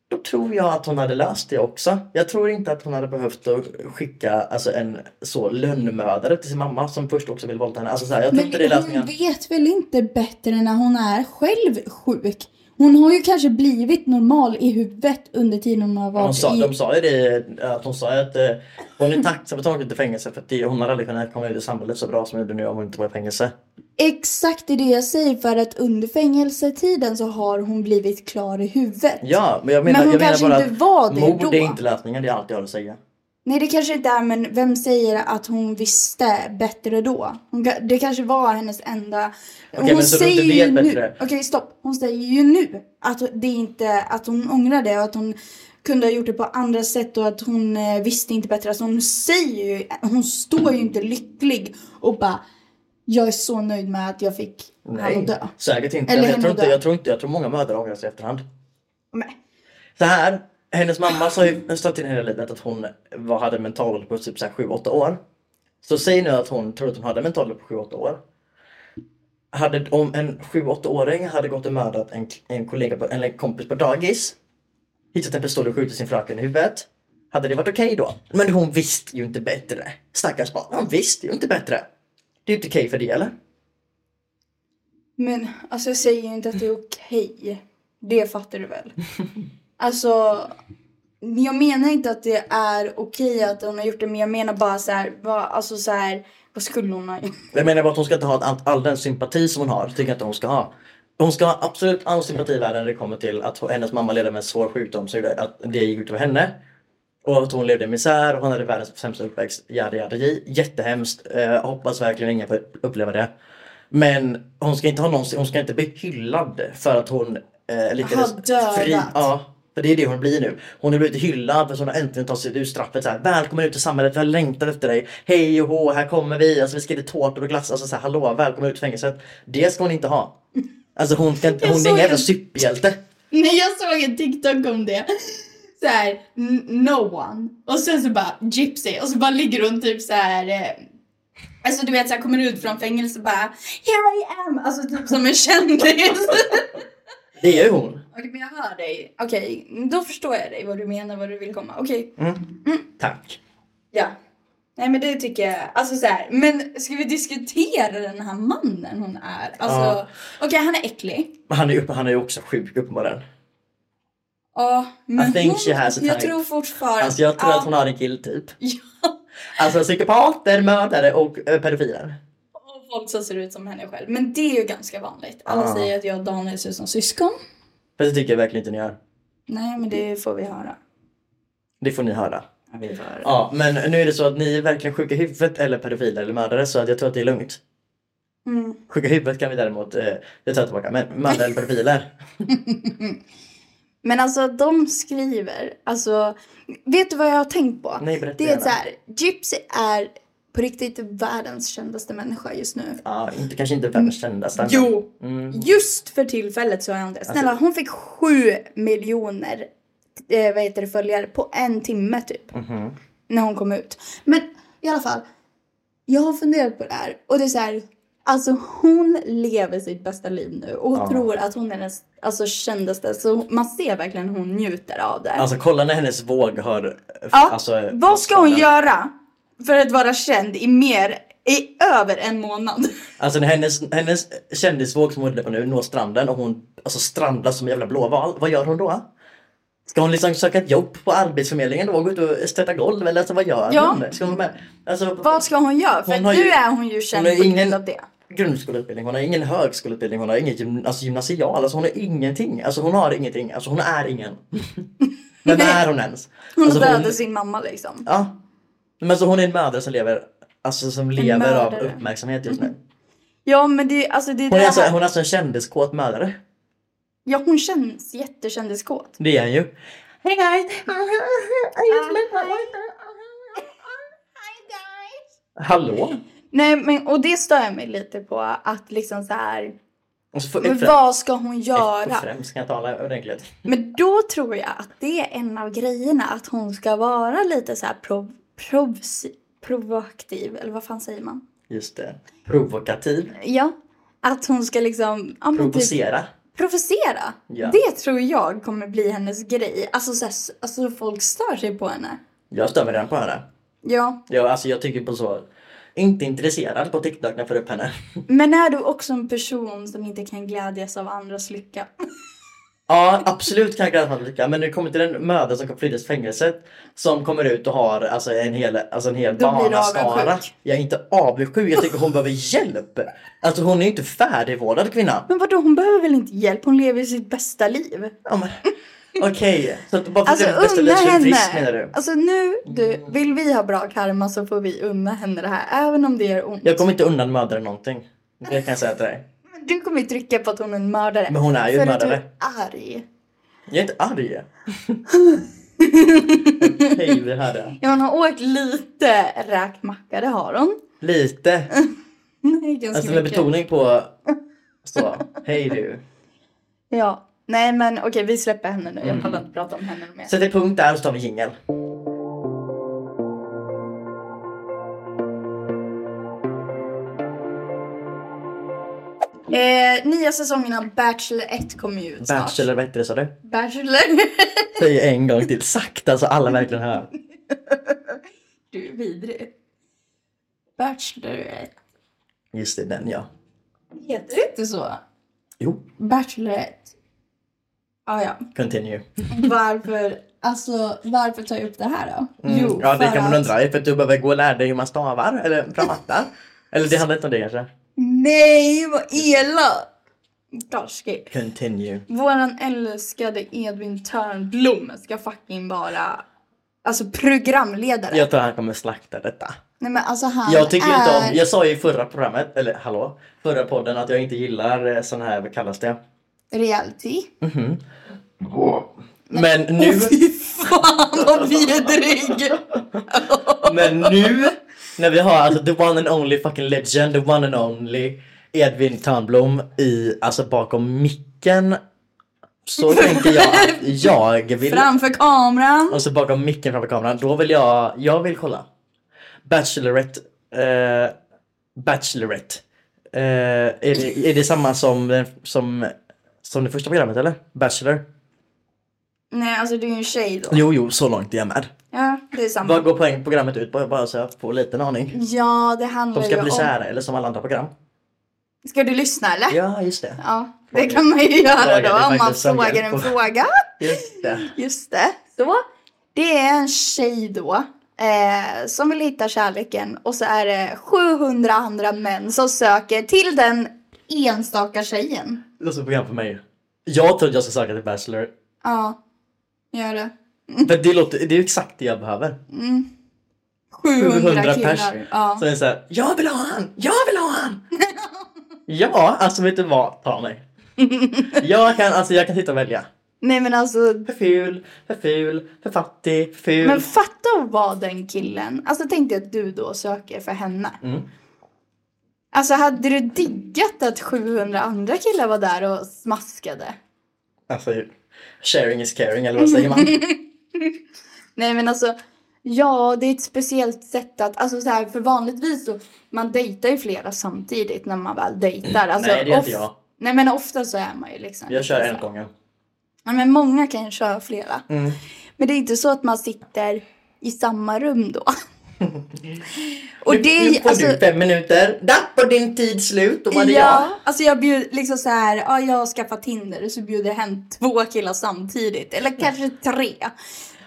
Speaker 1: Då tror jag att hon hade löst det också. Jag tror inte att hon hade behövt att skicka alltså, en så lönnmördare till sin mamma som först också vill våldta henne. Alltså, så här, jag tror
Speaker 5: Men
Speaker 1: inte det är lösningen.
Speaker 5: hon vet väl inte bättre när hon är själv sjuk? Hon har ju kanske blivit normal i huvudet under tiden hon har varit
Speaker 1: Hon sa,
Speaker 5: i...
Speaker 1: de sa ju det, att hon sa ju att eh, hon är tacksam att hon åkte i fängelse för att det, hon hade aldrig kunnat komma ut i samhället så bra som hon gjorde nu om hon inte var i fängelse.
Speaker 5: Exakt det är det jag säger för att under fängelsetiden så har hon blivit klar i huvudet.
Speaker 1: Ja, men jag menar,
Speaker 5: Men hon
Speaker 1: jag menar
Speaker 5: kanske
Speaker 1: bara
Speaker 5: inte var
Speaker 1: att
Speaker 5: det
Speaker 1: mord
Speaker 5: då.
Speaker 1: är inte lösningen, det är allt jag har att säga.
Speaker 5: Nej det kanske inte är men vem säger att hon visste bättre då? Hon, ka- det kanske var hennes enda...
Speaker 1: Okej, men så du inte vet
Speaker 5: nu...
Speaker 1: bättre.
Speaker 5: Okej stopp. Hon säger ju nu att det inte... Att hon ångrar det och att hon kunde ha gjort det på andra sätt och att hon eh, visste inte bättre. Alltså hon säger ju... Hon står ju inte lycklig och bara... Jag är så nöjd med att jag fick han att dö.
Speaker 1: säkert inte.
Speaker 5: Eller
Speaker 1: jag,
Speaker 5: henne
Speaker 1: tror
Speaker 5: att
Speaker 1: inte
Speaker 5: dö.
Speaker 1: jag tror inte, jag tror många mödrar ångrar sig i efterhand.
Speaker 5: Nej.
Speaker 1: Så här, hennes mamma sa ju sa till hela livet att hon var, hade mental på typ 7-8 år. Så säg nu att hon tror att hon hade mental på 7-8 år. Hade, om en 7-8-åring hade gått och mördat en, en, kollega på, eller en kompis på dagis, hittat en pistol och skjutit sin fröken i huvudet, hade det varit okej då? Men hon visste ju inte bättre. Stackars barn, hon visste ju inte bättre. Det är ju inte okej för det eller?
Speaker 2: Men alltså jag säger ju inte att det är okej. Det fattar du väl? Alltså, jag menar inte att det är okej att hon har gjort det, men jag menar bara så här, vad, alltså så här, vad skulle hon ha gjort?
Speaker 1: Jag menar bara att hon ska inte ha all, all den sympati som hon har. Det tycker jag inte hon ska ha. Hon ska ha absolut all sympati i världen när det kommer till att hennes mamma levde med en svår sjukdom som gjorde att det gick ut över henne. Och att hon levde i misär och hon hade världens sämsta uppväxt. Yada, yada, j. Jättehemskt. Eh, hoppas verkligen ingen får uppleva det. Men hon ska inte, ha någon, hon ska inte bli hyllad för att hon eh, lyckades
Speaker 5: Har dödat.
Speaker 1: Ja, för det är det hon blir nu. Hon har blivit hyllad för att hon har äntligen tagit sig ur straffet. Så här, Välkommen ut i samhället, vi har längtat efter dig. Hej och hå, här kommer vi. Alltså, vi ska ge dig tårtor och glass. Alltså, så här, hallå, välkommen ut i fängelset. Det ska hon inte ha. Alltså hon, ska inte,
Speaker 5: Jag
Speaker 1: hon är
Speaker 5: såg
Speaker 1: ingen jävla
Speaker 5: en-
Speaker 1: superhjälte.
Speaker 5: Nej, jag såg en TikTok om det. Så här, n- no one. Och sen så bara gypsy. Och så bara ligger hon typ så här. Eh, alltså du vet så här, kommer ut från fängelse och bara here I am. Alltså typ som en kändis.
Speaker 1: Det är ju hon.
Speaker 5: Okej, men jag hör dig. Okej, då förstår jag dig vad du menar, vad du vill komma. Okej,
Speaker 1: Tack.
Speaker 5: ja. Nej men det tycker jag, alltså så här, men ska vi diskutera den här mannen hon är? Alltså,
Speaker 1: Ja.
Speaker 5: okej han är äcklig.
Speaker 1: Men han är ju han är ju också sjuk uppenbarligen.
Speaker 5: Ja, men
Speaker 1: think
Speaker 5: hon,
Speaker 1: she has a
Speaker 5: jag
Speaker 1: type.
Speaker 5: tror fortfarande...
Speaker 1: Alltså jag tror
Speaker 5: Ja.
Speaker 1: att hon har en killtyp.
Speaker 5: Ja.
Speaker 1: Alltså psykopater, mördare och eh, pedofiler.
Speaker 5: Och folk som ser ut som henne själv. Men det är ju ganska vanligt. Alla
Speaker 1: Ja.
Speaker 5: säger att jag och Daniel ser ut som syskon.
Speaker 1: Fast det tycker jag verkligen inte ni gör.
Speaker 5: Nej, men det får vi höra.
Speaker 1: Det får ni höra.
Speaker 5: Vi får höra.
Speaker 1: Ja, men nu är det så att ni är verkligen sjuka i huvudet eller pedofiler eller mördare så att jag tror att det är lugnt.
Speaker 5: Mm.
Speaker 1: Sjuka i huvudet kan vi däremot, eh, jag tar tillbaka, men mördare eller pedofiler.
Speaker 2: Men alltså de skriver, alltså vet du vad jag har tänkt på?
Speaker 1: Nej, berätta
Speaker 2: Det är
Speaker 1: gärna.
Speaker 2: så här, Gypsy är på riktigt världens kändaste människa just nu.
Speaker 1: Ja, inte, kanske inte världens kändaste. men-
Speaker 2: Jo,
Speaker 1: Mm. Alltså-
Speaker 2: just för tillfället så är hon det. Snälla, hon fick sju miljoner eh, vad heter det, följare på en timme typ.
Speaker 1: Mm. mhm.
Speaker 2: När hon kom ut. Men i alla fall. Jag har funderat på det här och det är så här. Alltså hon lever sitt bästa liv nu och tror att hon är den alltså, kändaste. Så man ser verkligen hon njuter av det.
Speaker 1: Alltså kolla när hennes våg har...
Speaker 2: Ja,
Speaker 1: alltså,
Speaker 2: vad ska hon göra för att vara känd i mer, i över en månad?
Speaker 1: Alltså när hennes, hennes kändisvåg som hon är på nu når stranden och hon alltså, strandar som en jävla blåval. Vad gör hon då? Ska hon liksom söka ett jobb på Arbetsförmedlingen då? Gå ut och stöta golv eller alltså, vad gör
Speaker 2: Ja.
Speaker 1: hon? Ska hon med? Alltså,
Speaker 2: Vad ska hon göra? För
Speaker 1: Hon har
Speaker 2: nu
Speaker 1: ju-
Speaker 2: är hon ju känd
Speaker 1: hon har
Speaker 2: på grund
Speaker 1: ingen-
Speaker 2: av det.
Speaker 1: grundskoleutbildning, hon har ingen högskoleutbildning, hon har ingen gym, alltså gymnasial, alltså hon har ingenting. Alltså hon har ingenting, alltså hon är ingen. Vem är hon ens?
Speaker 2: Hon
Speaker 1: alltså,
Speaker 2: dödade sin mamma liksom.
Speaker 1: Ja. Men alltså hon är en mördare som lever, alltså som lever av
Speaker 2: mördare.
Speaker 1: uppmärksamhet just nu.
Speaker 2: Ja men det, alltså det är
Speaker 1: Hon är
Speaker 2: det
Speaker 1: alltså,
Speaker 2: här.
Speaker 1: hon är alltså en kändiskåt mördare.
Speaker 2: Ja hon känns jättekändiskåt.
Speaker 1: Det är han ju. Hey guys!
Speaker 2: Ah,
Speaker 1: Hallå?
Speaker 2: Nej men och det stör jag mig lite på att liksom så här.
Speaker 1: Och så får
Speaker 2: Men
Speaker 1: upp
Speaker 2: vad ska hon
Speaker 1: främst.
Speaker 2: göra?
Speaker 1: främst kan jag tala ordentligt.
Speaker 2: Men då tror jag att det är en av grejerna att hon ska vara lite så här prov, provs, provoaktiv eller vad fan säger man?
Speaker 1: Just det. Provokativ.
Speaker 2: Ja, att hon ska liksom ja, men typ,
Speaker 1: Provocera.
Speaker 2: provocera.
Speaker 1: Ja.
Speaker 2: Det tror jag kommer bli hennes grej. Alltså, så här, s- alltså folk stör sig på henne.
Speaker 1: Jag stör mig redan på henne.
Speaker 2: Ja,
Speaker 1: Ja, alltså jag tycker på så. Inte intresserad på TikTok när jag får upp henne.
Speaker 2: men är du också en person som inte kan glädjas av andras lycka?
Speaker 1: Ja, absolut kan jag gräva lycka. Men när det kommer till den mördare som flyddes fängelset som kommer ut och har alltså, en hel, alltså, en hel
Speaker 2: Då blir du
Speaker 1: barnaskara.
Speaker 2: avundsjuk.
Speaker 1: Jag är inte avundsjuk. Jag tycker hon behöver hjälp. Alltså hon är ju inte färdigvårdad kvinna.
Speaker 2: Men vadå, hon behöver väl inte hjälp? Hon lever ju sitt bästa liv.
Speaker 1: Ja, men- Okej, så att bara för att
Speaker 2: Alltså
Speaker 1: det är bästa
Speaker 2: unna
Speaker 1: livet är frisk menar
Speaker 2: henne.
Speaker 1: du? Mm.
Speaker 2: Alltså nu, du, vill vi ha bra karma så får vi unna henne det här. Även om det gör ont.
Speaker 1: Jag kommer inte undan mördare någonting. Det kan jag säga till dig.
Speaker 2: Du kommer ju trycka på att hon är en mördare.
Speaker 1: Men hon är ju
Speaker 2: för
Speaker 1: en mördare.
Speaker 2: att du är arg.
Speaker 1: Jag är inte arg. Okej, det här är.
Speaker 2: Ja, hon har åkt lite räkmacka, det har hon.
Speaker 1: Lite.
Speaker 2: Nej, ganska
Speaker 1: Alltså med
Speaker 2: mycket.
Speaker 1: betoning på så. Hej du.
Speaker 2: Ja. Nej men okej vi släpper henne nu.
Speaker 1: Mm.
Speaker 2: Jag pallar inte prata om henne mer.
Speaker 1: Sätter punkt där och så tar vi jingel.
Speaker 2: Eh, nya säsongen av Bachelor 1 kommer ju ut snart.
Speaker 1: Bachelor, vad hette det sa du?
Speaker 2: Bachelor.
Speaker 1: Säg en gång till sakta så alla verkligen hör.
Speaker 2: du är vidrig. Bachelor 1.
Speaker 1: Just det, den ja.
Speaker 2: Heter det inte så?
Speaker 1: Jo,
Speaker 2: Bachelor 1. Ah, ja.
Speaker 1: continue.
Speaker 2: Varför, alltså, varför tar jag upp det här då?
Speaker 1: Mm. ja, det
Speaker 2: för
Speaker 1: kan man
Speaker 2: att-
Speaker 1: undra. För att du behöver gå och lära dig hur man stavar eller pratar. eller det handlar inte om det kanske.
Speaker 2: Nej, vad elak! Taskig.
Speaker 1: Continue.
Speaker 2: Våran älskade Edvin Törnblom ska fucking vara alltså programledare.
Speaker 1: Jag tror han kommer slakta detta.
Speaker 2: Nej men alltså han
Speaker 1: Jag tycker ju inte
Speaker 2: är...
Speaker 1: om, jag sa ju i förra programmet, eller hallå, förra podden att jag inte gillar eh, sån här, vad kallas det?
Speaker 2: Reality.
Speaker 1: Men nu,
Speaker 2: Fy fan vad vidrig!
Speaker 1: men nu när vi har alltså the one and only fucking legend, the one and only Edvin Törnblom i, alltså bakom micken. Så tänker jag att jag vill,
Speaker 2: Framför kameran.
Speaker 1: alltså bakom micken framför kameran, då vill jag, jag vill kolla. Bachelorette, eh, Bachelorette. Eh, är, det, är det samma som, den- som, som det första programmet eller? Bachelor?
Speaker 2: Nej alltså det är ju en tjej då.
Speaker 1: Jo, jo, så långt är jag med.
Speaker 2: Ja det är samma.
Speaker 1: Vad går poäng programmet ut på? Bara så jag får lite en aning.
Speaker 2: Ja det handlar
Speaker 1: De ska
Speaker 2: ju
Speaker 1: bli
Speaker 2: om...
Speaker 1: kära, eller som alla andra program.
Speaker 2: Ska du lyssna eller?
Speaker 1: Ja, just det.
Speaker 2: Ja, det kan man ju
Speaker 1: Fråga,
Speaker 2: göra
Speaker 1: det
Speaker 2: då
Speaker 1: är
Speaker 2: om man
Speaker 1: faktiskt som
Speaker 2: frågar
Speaker 1: hjälp
Speaker 2: en
Speaker 1: på-
Speaker 2: fråga.
Speaker 1: Just det.
Speaker 2: Just det. Så, det är en tjej då eh, som vill hitta kärleken och så är det 700 andra män som söker till den enstaka tjejen.
Speaker 1: Låter som ett program för mig. Jag tror att jag ska söka till Bachelor.
Speaker 2: Ja, gör det.
Speaker 1: För det, låter, det är ju exakt det jag behöver.
Speaker 2: 700,
Speaker 1: 700
Speaker 2: killar.
Speaker 1: pers.
Speaker 2: Ja.
Speaker 1: Så det är såhär, jag vill ha han! Jag vill ha han! ja, alltså vet du vad? Ta mig. jag kan, alltså jag kan sitta och välja.
Speaker 2: Nej men alltså,
Speaker 1: För ful, för ful, för fattig, för ful.
Speaker 2: men fatta att vara den killen. Alltså tänk dig att du då söker för henne.
Speaker 1: Mm.
Speaker 2: Alltså hade du diggat att 700 andra killar var där och smaskade?
Speaker 1: Alltså, Sharing is caring, eller vad säger man?
Speaker 2: Nej men alltså, ja det är ett speciellt sätt att, alltså så här, för vanligtvis så, man dejtar ju flera samtidigt när man väl dejtar. Alltså,
Speaker 1: Mm. Nej, det är
Speaker 2: of-
Speaker 1: inte jag.
Speaker 2: Nej men ofta så är man ju liksom.
Speaker 1: Jag kör
Speaker 2: lite
Speaker 1: en
Speaker 2: så.
Speaker 1: gång.
Speaker 2: Ja, men många kan ju köra flera.
Speaker 1: Mm.
Speaker 2: Men det är inte så att man sitter i samma rum då. Och det
Speaker 1: nu,
Speaker 2: är
Speaker 1: nu får
Speaker 2: alltså,
Speaker 1: du fem minuter. Där var din tid slut och var det
Speaker 2: ja, alltså jag bjuder liksom så här, ja jag skaffar Tinder och så bjuder jag hem två killar samtidigt. Eller kanske tre.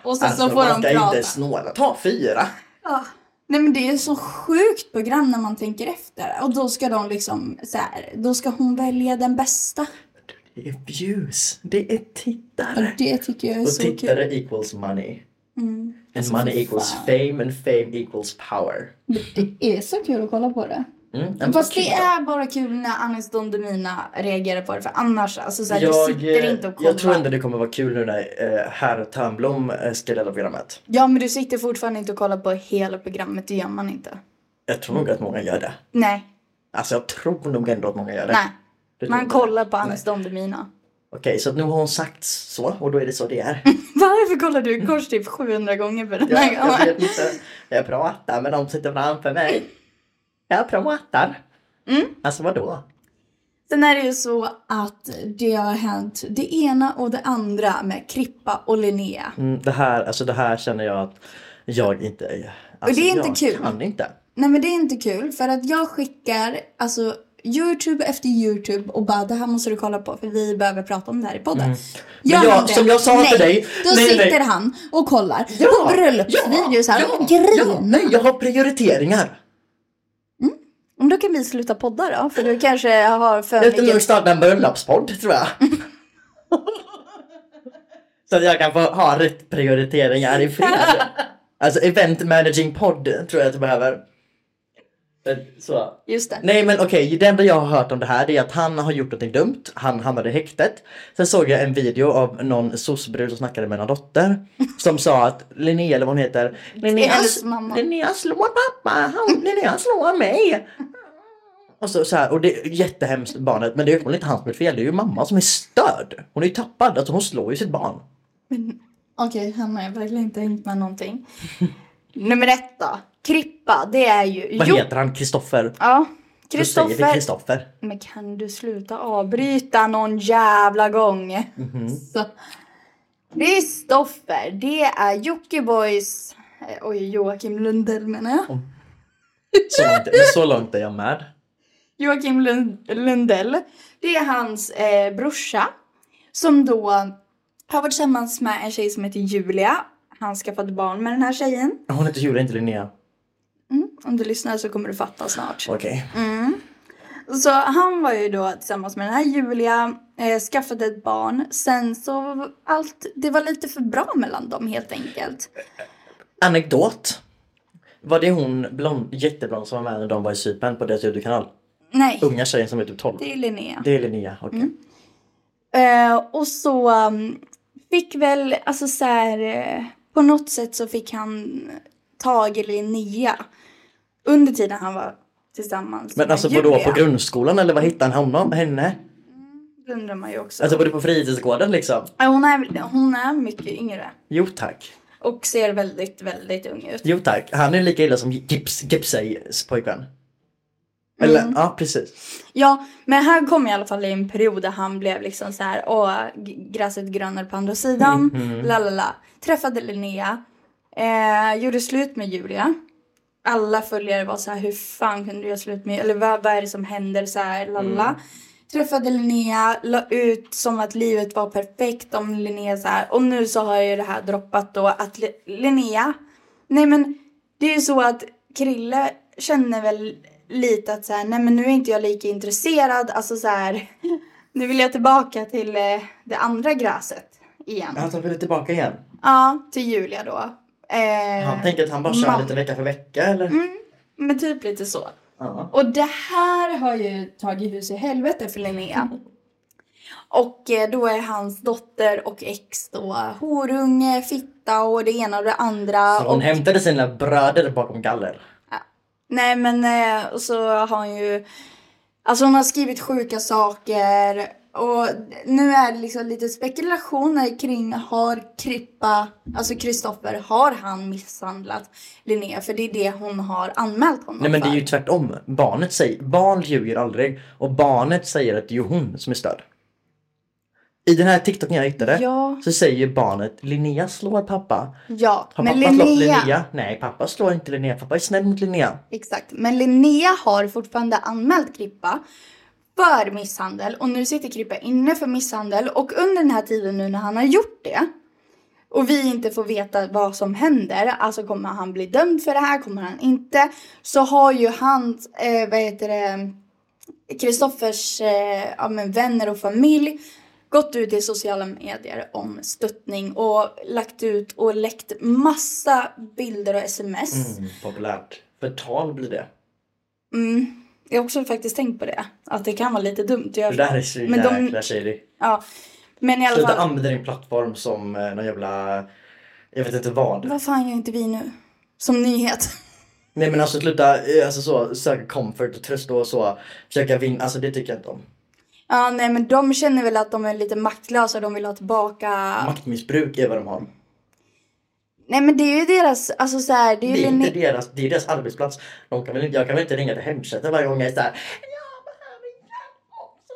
Speaker 2: Och sen
Speaker 1: jag. Alltså,
Speaker 2: så får
Speaker 1: man
Speaker 2: de
Speaker 1: ska
Speaker 2: prata.
Speaker 1: inte snåla. Ta fyra.
Speaker 2: Ja. Nej men det är så sjukt program när man tänker efter. Och då ska de liksom så här, då ska hon välja den bästa.
Speaker 1: Det är views. Det är
Speaker 2: Och
Speaker 1: tittare.
Speaker 2: det tycker jag är
Speaker 1: Och
Speaker 2: så kul. Mm.
Speaker 1: tittare equals money. And
Speaker 2: Alltså,
Speaker 1: money equals fame and fame equals power.
Speaker 2: Det är så kul att kolla på det.
Speaker 1: Mm. men
Speaker 2: Fast
Speaker 1: vad
Speaker 2: det
Speaker 1: kul.
Speaker 2: är bara kul när Anis Don Demina reagerar på det. För annars, alltså så här,
Speaker 1: jag,
Speaker 2: du sitter
Speaker 1: eh,
Speaker 2: inte och kollar.
Speaker 1: jag tror ändå det kommer vara kul nu när eh, herr Törnblom eh, ska leda programmet.
Speaker 2: Ja men du sitter fortfarande inte och kollar på hela programmet. Det gör man inte.
Speaker 1: Jag tror nog att många gör det.
Speaker 2: Nej,
Speaker 1: Alltså jag tror nog ändå att många gör det.
Speaker 2: nej.
Speaker 1: Det tror
Speaker 2: Man
Speaker 1: jag.
Speaker 2: kollar på Anis Don Demina.
Speaker 1: Okej, så att nu har hon sagt så och då är det så det är.
Speaker 2: Varför kollar du kors typ 700 gånger på den
Speaker 1: Jag,
Speaker 2: här
Speaker 1: jag
Speaker 2: gången?
Speaker 1: vet inte. Jag pratar med de som sitter framför mig. Jag pratar.
Speaker 2: Mm.
Speaker 1: Alltså vadå?
Speaker 2: Sen är det ju så att det har hänt det ena och det andra med Krippa och Linnea.
Speaker 1: Mm, det, här, alltså det här känner jag att jag inte... är- Alltså,
Speaker 2: det är inte
Speaker 1: jag
Speaker 2: kul.
Speaker 1: kan inte.
Speaker 2: Nej men det är inte kul för att jag skickar alltså Youtube efter Youtube och bara det här måste du kolla på för vi behöver prata om det här i podden. Gör
Speaker 1: Mm. Men jag-
Speaker 2: han det?
Speaker 1: som jag sa
Speaker 2: nej,
Speaker 1: till dig,
Speaker 2: Då
Speaker 1: nej,
Speaker 2: sitter
Speaker 1: nej.
Speaker 2: han och kollar på bröllopsvideos här och
Speaker 1: ja,
Speaker 2: grinar.
Speaker 1: nej, jag har prioriteringar.
Speaker 2: Om då kan vi sluta podda då för du kanske har för
Speaker 1: Jag ska nog
Speaker 2: mycket.
Speaker 1: starta en bröllopspodd tror jag. Så att jag kan få ha rätt prioriteringar i fred. Alltså event managing podd tror jag att jag behöver. Eh, Så.
Speaker 2: Just det.
Speaker 1: Nej men okej, det enda jag har hört om det här är att han har gjort någonting dumt. Han hamnade i häktet. Sen såg jag en video av någon sossebrud som snackade med en dotter. Som sa att Linnea, eller vad hon heter.
Speaker 2: hennes
Speaker 1: Linneas,
Speaker 2: mamma.
Speaker 1: Linnea slår pappa, han, Linnea slår mig. Och, så, så här, och det är jättehemskt barnet, men det är uppenbarligen inte hans fel. Det är ju mamma som är störd. Hon är ju tappad, alltså hon slår ju sitt barn.
Speaker 2: Okej, Hanna, jag har verkligen inte hängt med någonting. Nummer ett då. Krippa, det är ju...
Speaker 1: Vad
Speaker 2: Jo-
Speaker 1: heter han? Kristoffer?
Speaker 2: Ja,
Speaker 1: Du säger det
Speaker 2: Kristoffer.
Speaker 1: Kristoffer.
Speaker 2: Men kan du sluta avbryta någon jävla gång?
Speaker 1: Mhm.
Speaker 2: Så. Kristoffer, det är Jockibois... eh, Oj, Joakim Lundell menar jag.
Speaker 1: Så långt, men så långt är jag med.
Speaker 2: Joakim Lund, Lundell. Det är hans eh, brorsa. Som då har varit tillsammans med en tjej som heter Julia. Han skaffade barn med den här tjejen.
Speaker 1: Hon heter Julia, inte Linnea.
Speaker 2: Mm, om du lyssnar så kommer du fatta snart.
Speaker 1: Okej.
Speaker 2: Mm. Så han var ju då tillsammans med den här Julia, eh, skaffade ett barn. Sen så allt, det var lite för bra mellan dem helt enkelt.
Speaker 1: Anekdot. Var det hon blond, jätteblond som var med när de var i Cypern på deras YouTube-kanal?
Speaker 2: Nej,
Speaker 1: Unga tjejen som är typ 12.
Speaker 2: det är Linnea.
Speaker 1: Det är Linnea, okej.
Speaker 2: Eh, och så um, fick väl, alltså så här, eh, på något sätt så fick han tag i Linnea. Under tiden han var tillsammans
Speaker 1: Men alltså
Speaker 2: med
Speaker 1: vadå,
Speaker 2: Julia.
Speaker 1: på grundskolan eller vad hittade han honom, henne?
Speaker 2: Det undrar man ju också.
Speaker 1: Alltså var det på fritidsgården liksom?
Speaker 2: Eh, hon, är, väl- hon är mycket yngre.
Speaker 1: Jo tack.
Speaker 2: Och ser väldigt, väldigt ung ut.
Speaker 1: Jo tack. Han är lika illa som Gips, Gipseys pojkvän. Eller, ja precis.
Speaker 2: Ja, men han kom i alla fall i en period där han blev liksom så här, åh, g- gräset grönare på andra sidan, la la la. Träffade Linnea, eh, gjorde slut med Julia. Alla följare var så här, hur fan kunde du göra slut med, eller vad, vad är det som händer så här, la la la. Träffade Linnea, la ut som att livet var perfekt om Linnea så här. Och nu så har jag ju det här droppat då att Li- Linnea, nej men det är ju så att Krille känner väl lite att så här, nej men nu är inte jag lika intresserad. Alltså så här, nu vill jag tillbaka till eh, det andra gräset igen.
Speaker 1: Han tar väl tillbaka igen.
Speaker 2: Ja, till Julia då. Eh,
Speaker 1: Han tänkte att han bara kör
Speaker 2: mamma.
Speaker 1: lite vecka för vecka eller?
Speaker 2: Men typ lite så.
Speaker 1: Ja.
Speaker 2: Och det här har ju tagit hus i helvete för Linnea. Och eh, då är hans dotter och ex då horunge, fitta och det ena och det andra.
Speaker 1: Så hon
Speaker 2: och,
Speaker 1: hämtade sina bröder bakom galler.
Speaker 2: Nej men eh, och så har hon ju, alltså hon har skrivit sjuka saker Och nu är det liksom lite spekulationer kring har Krippa, alltså Kristoffer, har han misshandlat Linnea? För det är det hon har anmält honom
Speaker 1: Nej men det
Speaker 2: för.
Speaker 1: är ju tvärtom. Barnet säger, barn ljuger aldrig. Och barnet säger att det är hon som är störd. I den här TikToken jag hittade
Speaker 2: Ja.
Speaker 1: så säger barnet Linnea slår pappa.
Speaker 2: Ja,
Speaker 1: Har
Speaker 2: men
Speaker 1: pappa slått
Speaker 2: Linnea,
Speaker 1: Linnea? Nej pappa slår inte Linnea. Pappa är snäll mot Linnea.
Speaker 2: Exakt. Men Linnea har fortfarande anmält Krippa för misshandel och nu sitter Krippa inne för misshandel och under den här tiden nu när han har gjort det och vi inte får veta vad som händer, alltså kommer han bli dömd för det här, kommer han inte, så har ju hans, eh, vad heter det, Kristoffers eh, ja, men vänner och familj gått ut i sociala medier om stöttning och lagt ut och läckt massa bilder och sms.
Speaker 1: Mm, populärt. Förtal blir det.
Speaker 2: Mm. Jag har också faktiskt tänkt på det. Att det kan vara lite dumt att
Speaker 1: Det
Speaker 2: göra.
Speaker 1: där är så
Speaker 2: Men de-
Speaker 1: jäkla shady.
Speaker 2: Ja. Men i alla
Speaker 1: Sluta
Speaker 2: fall.
Speaker 1: använda din plattform som eh, någon jävla... Jag vet inte vad.
Speaker 2: Vad fan gör inte vi nu? Som nyhet.
Speaker 1: Nej men alltså sluta eh, alltså, så, söka comfort och tröst och så. Försöka vinna. Alltså det tycker jag inte om.
Speaker 2: Ja, nej men de känner väl att de är lite maktlösa. De vill ha tillbaka.
Speaker 1: Maktmissbruk är vad de har.
Speaker 2: Nej men det är ju deras, alltså så här, det är ju
Speaker 1: Det är
Speaker 2: Linne-
Speaker 1: inte deras, det är deras arbetsplats. De kan väl, inte- jag kan väl inte ringa till Hemtjänsten varje gång jag är såhär. "Jag behöver hjälp också,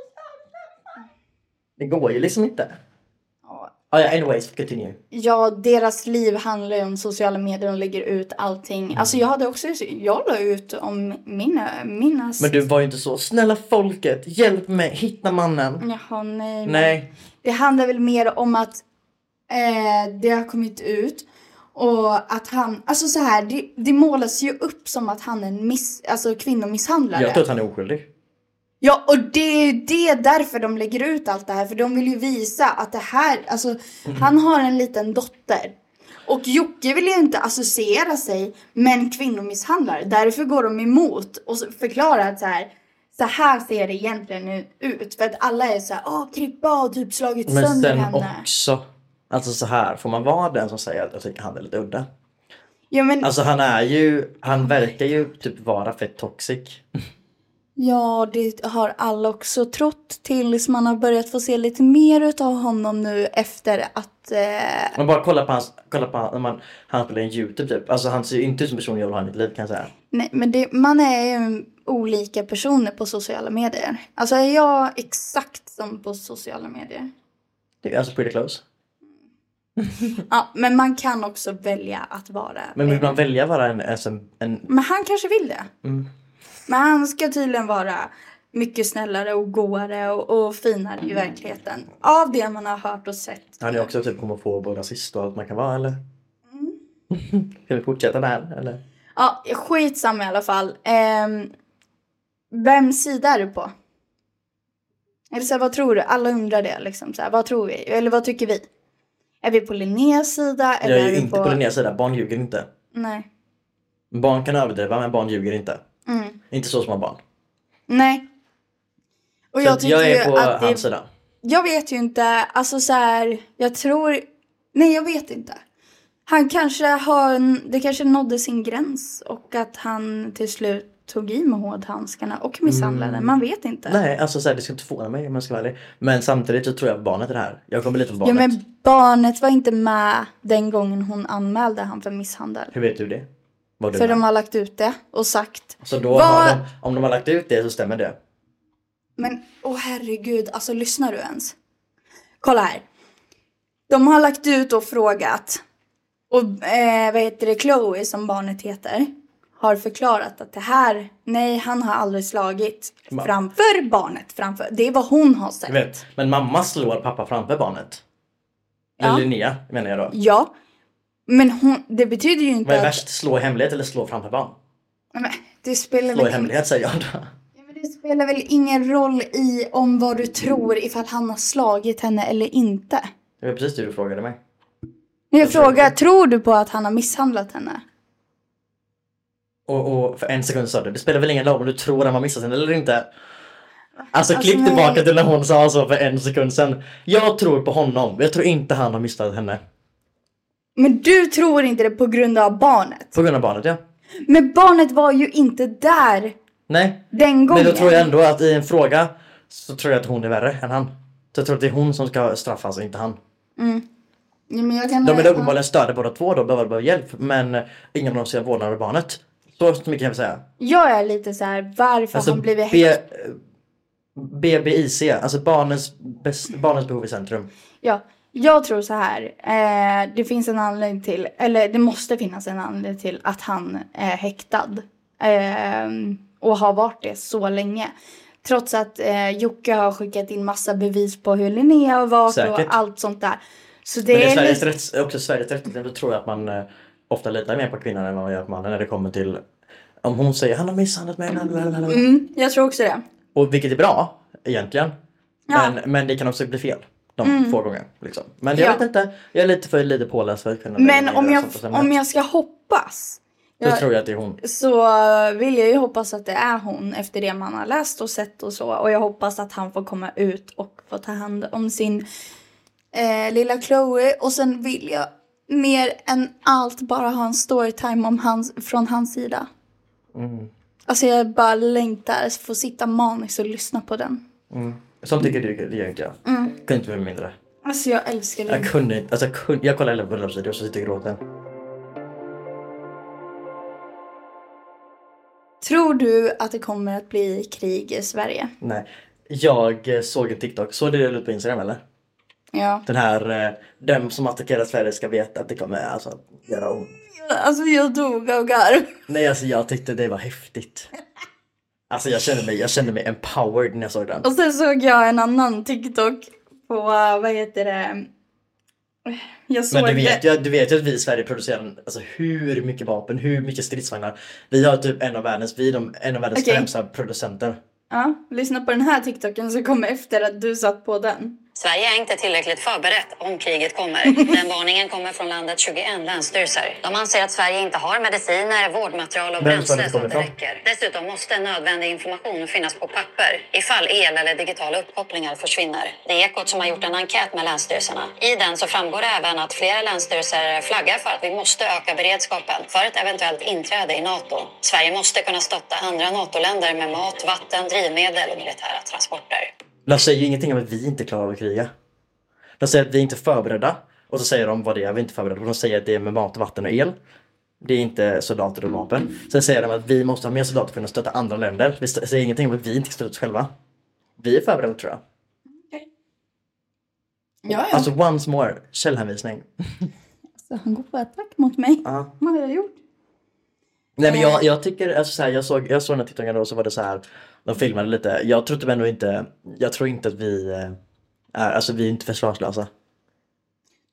Speaker 1: snälla." Det går ju liksom inte.
Speaker 2: Ja.
Speaker 1: Ah, ja, anyways, continue.
Speaker 2: Ja, deras liv handlar ju om sociala medier. De lägger ut allting. Alltså jag hade också, jag la ut om mina, mina...
Speaker 1: Men du var ju inte så. Snälla folket, hjälp mig, hitta mannen.
Speaker 2: Jaha, nej. men-
Speaker 1: Nej.
Speaker 2: Det handlar väl mer om att eh, det har kommit ut och att han, alltså så här, det, det målas ju upp som att han är en miss, alltså kvinnomisshandlare.
Speaker 1: Jag tror att han är oskyldig.
Speaker 2: Ja, och det är ju det därför de lägger ut allt det här, för de vill ju visa att det här, alltså
Speaker 1: Mm.
Speaker 2: han har en liten dotter. Och Jocke vill ju inte associera sig med en kvinnomisshandlare, därför går de emot och så förklarar att så här, så här ser det egentligen ut. För att alla är så här, åh Krippa har typ slagit
Speaker 1: Men
Speaker 2: sönder
Speaker 1: sen
Speaker 2: henne.
Speaker 1: också. Alltså så här, får man vara den som säger att jag tycker han är lite udda?
Speaker 2: Ja, men,
Speaker 1: Alltså han är ju, han verkar ju typ vara fett toxic.
Speaker 2: ja, det har alla också trott tills man har börjat få se lite mer utav honom nu efter att... Eh,
Speaker 1: Men bara kolla på hans, kolla på han- när man, han spelar in YouTube typ. Alltså han ser ju inte ut som en person jag vill ha i mitt liv kan jag säga.
Speaker 2: nej, men det, man är ju olika personer på sociala medier. Alltså är jag exakt som på sociala medier?
Speaker 1: Det är alltså pretty close.
Speaker 2: Ja, men man kan också välja att vara...
Speaker 1: Men vill man välja vara en, alltså en, en
Speaker 2: Men han kanske vill det.
Speaker 1: Mm.
Speaker 2: Men han ska tydligen vara mycket snällare och goare och, och finare i verkligheten. Av det man har hört och sett.
Speaker 1: Mm. han är också typ homofob och rasist och allt man kan vara eller?
Speaker 2: Mm.
Speaker 1: kan vi fortsätta där eller?
Speaker 2: Ja, skitsamma i alla fall. Ehm, vem sida är du på? Eller så här, vad tror du? Alla undrar det. Liksom, så här, vad tror vi? Eller vad tycker vi? Är vi på Linneas sida? Eller
Speaker 1: Jag är ju
Speaker 2: vi
Speaker 1: inte på Linneas sida, barn ljuger inte.
Speaker 2: Nej.
Speaker 1: Barn kan överdriva men barn ljuger inte.
Speaker 2: Mm.
Speaker 1: Inte så som har barn.
Speaker 2: Nej. Och
Speaker 1: Så
Speaker 2: jag
Speaker 1: att
Speaker 2: tycker
Speaker 1: jag
Speaker 2: ju
Speaker 1: är på
Speaker 2: att
Speaker 1: hans
Speaker 2: det,
Speaker 1: sida.
Speaker 2: Jag vet ju inte. Alltså så här, jag tror... Nej, jag vet inte. Han kanske har... en- Det kanske nådde sin gräns och att han till slut tog i med hårdhandskarna och misshandlade.
Speaker 1: Mm.
Speaker 2: Man vet inte.
Speaker 1: Nej, alltså så här, det ska inte förvåna mig om jag ska vara ärlig. Men samtidigt så tror jag barnet är det här. Jag kommer lite på
Speaker 2: Ja,
Speaker 1: barnet.
Speaker 2: men barnet var inte med den gången hon anmälde han för misshandel.
Speaker 1: Hur vet du det? Var du
Speaker 2: För
Speaker 1: med?
Speaker 2: de har lagt ut det och sagt.
Speaker 1: Så då
Speaker 2: Vad-
Speaker 1: har de, om de har lagt ut det så stämmer det.
Speaker 2: Men åh herregud, alltså lyssnar du ens? Kolla här. De har lagt ut och frågat. Och eh, vad heter det, Chloe som barnet heter. Har förklarat att det här, nej han har aldrig slagit.
Speaker 1: Ma-
Speaker 2: Framför barnet, framför. Det är vad hon har
Speaker 1: Jag
Speaker 2: sagt.
Speaker 1: vet. Men mamma slår pappa framför barnet.
Speaker 2: Ja.
Speaker 1: Eller Linnea menar jag då.
Speaker 2: Ja. Men hon, det betyder ju inte
Speaker 1: Vad är
Speaker 2: att...
Speaker 1: värst? Slå i hemlighet eller slå framför barn?
Speaker 2: Nej, men Det spelar liksom-
Speaker 1: Slå i
Speaker 2: väl in-
Speaker 1: hemlighet säger jag då.
Speaker 2: Ja, men Det spelar väl ingen roll i om vad du tror ifall han har slagit henne eller inte.
Speaker 1: Det var precis det du frågade mig.
Speaker 2: Men
Speaker 1: Jag
Speaker 2: jag
Speaker 1: tror
Speaker 2: frågar,
Speaker 1: det.
Speaker 2: tror du på att han har misshandlat henne?
Speaker 1: Och, och för en sekund sa du, det spelar väl ingen roll om du tror att man missar sen eller inte? Alltså,
Speaker 2: Alltså,
Speaker 1: klipp
Speaker 2: men-
Speaker 1: tillbaka till när hon sa så för en sekund sen. Jag tror på honom, jag tror inte han har missat henne.
Speaker 2: Men du tror inte det på grund av barnet.
Speaker 1: På grund av barnet ja.
Speaker 2: Men barnet var ju inte där
Speaker 1: Nej.
Speaker 2: den gången.
Speaker 1: Men då tror jag ändå att i en fråga så tror jag att hon är värre än han. Så jag tror att det är hon som ska straffas, inte han.
Speaker 2: Ja, men jag kan...
Speaker 1: De är uppenbarligen störda båda två då, behöver behöver hjälp. Men ingen av dem ser vårdnaden av barnet. Så mycket kan jag väl säga.
Speaker 6: Jag är lite så här, varför
Speaker 1: Alltså,
Speaker 6: har hon
Speaker 2: Alltså,
Speaker 6: blivit
Speaker 1: B, eh, BBIC, alltså barnens, bäst, barnens behov i centrum.
Speaker 6: Ja, jag tror så här. Eh, det finns en anledning till, eller det måste finnas en anledning till att han är häktad. Eh, och har varit det så länge. Trots att eh, Jocke har skickat in massa bevis på hur Linnea har varit
Speaker 1: Säkert.
Speaker 6: och allt sånt där. Så det,
Speaker 1: Men det är
Speaker 6: är,
Speaker 1: Sveriges
Speaker 6: lite,
Speaker 1: rätts, också Sveriges rättstillämpning. Då tror jag att man eh, ofta litar mer på kvinnan än vad man gör på mannen när det kommer till om hon säger han har misshandlat mig. lalalala."
Speaker 2: Mm, jag tror också det.
Speaker 1: Och vilket är bra egentligen.
Speaker 2: Ja. Mm.
Speaker 1: Men, men det kan också bli fel. De få gånger. Liksom. Men jag
Speaker 2: Ja.
Speaker 1: vet inte. Jag är lite för lite påläst för att kunna
Speaker 2: Men
Speaker 1: värdera
Speaker 2: om jag,
Speaker 1: sånt och sånt.
Speaker 2: om jag ska hoppas
Speaker 1: Då tror jag att det är hon.
Speaker 2: så vill jag ju hoppas att det är hon efter det man har läst och sett och så. Och jag hoppas att han får komma ut och få ta hand om sin eh, lilla Chloe. Och sen vill jag mer än allt bara ha en storytime om hans, från hans sida. Alltså jag bara längtar att få sitta maniskt och lyssna på den.
Speaker 1: Som tycker du det gör inte jag.
Speaker 2: Mm.
Speaker 1: Kunde inte bli mindre.
Speaker 2: Alltså jag älskar den.
Speaker 1: Jag kunde inte. Alltså, jag, kunde, jag kollade hela bröllopsvideon och så sitter jag och gråter.
Speaker 2: Tror du att det kommer att bli krig i Sverige?
Speaker 1: Nej. Jag eh, såg en TikTok. Såg du det ut på Instagram eller?
Speaker 2: Ja.
Speaker 1: Den här, eh, dem som attackerar Sverige ska veta att det kommer alltså göra ont.
Speaker 2: Alltså jag dog av garv.
Speaker 1: Nej alltså jag tyckte det var häftigt. Alltså jag kände mig, jag kände mig empowered när jag såg den.
Speaker 2: Och sen såg jag en annan TikTok på, eh, vad heter det? Jag såg
Speaker 1: Men du vet, ju, du vet ju att vi i Sverige producerar alltså, hur mycket vapen, hur mycket stridsvagnar. Vi har typ en av världens, vi är de, en av världens
Speaker 2: Okej.
Speaker 1: främsta producenter.
Speaker 2: Ja, lyssna på den här TikToken som kom efter att du satt på den.
Speaker 7: Sverige är inte tillräckligt förberett om kriget kommer. Den varningen kommer från landets 21 länsstyrelser. De anser att Sverige inte har mediciner, vårdmaterial och
Speaker 1: Vem sa det
Speaker 7: bränsle
Speaker 1: kommer
Speaker 7: som det
Speaker 1: ifrån?
Speaker 7: räcker. Dessutom måste nödvändig information finnas på papper ifall el eller digitala uppkopplingar försvinner. Det är Ekot som har gjort en enkät med länsstyrelserna. I den så framgår det även att flera länsstyrelser flaggar för att vi måste öka beredskapen för ett eventuellt inträde i NATO. Sverige måste kunna stötta andra NATO-länder med mat, vatten, drivmedel och militära transporter.
Speaker 1: De säger ju ingenting om att vi inte klarar av att kriga. De säger att vi inte är förberedda. Och så säger de vad det är vi inte är förberedda på. De säger att det är med mat, vatten och el. Det är inte soldater och vapen. Sen säger de att vi måste ha mer soldater för att kunna stötta andra länder. Vi st- säger ingenting om att vi inte stöttar oss själva. Vi är förberedda tror jag.
Speaker 2: Mm, Ja,
Speaker 1: Alltså once more, källhänvisning.
Speaker 2: Så han går på attack mot mig.
Speaker 1: Ja.
Speaker 2: Vad har jag gjort?
Speaker 1: Nej men
Speaker 2: Eh.
Speaker 1: jag, jag tycker, alltså så här, jag såg, jag såg den här TikToken då och så var det så här, de filmade lite. Jag tror typ ändå inte, jag tror inte att vi eh, är, alltså vi är inte försvarslösa.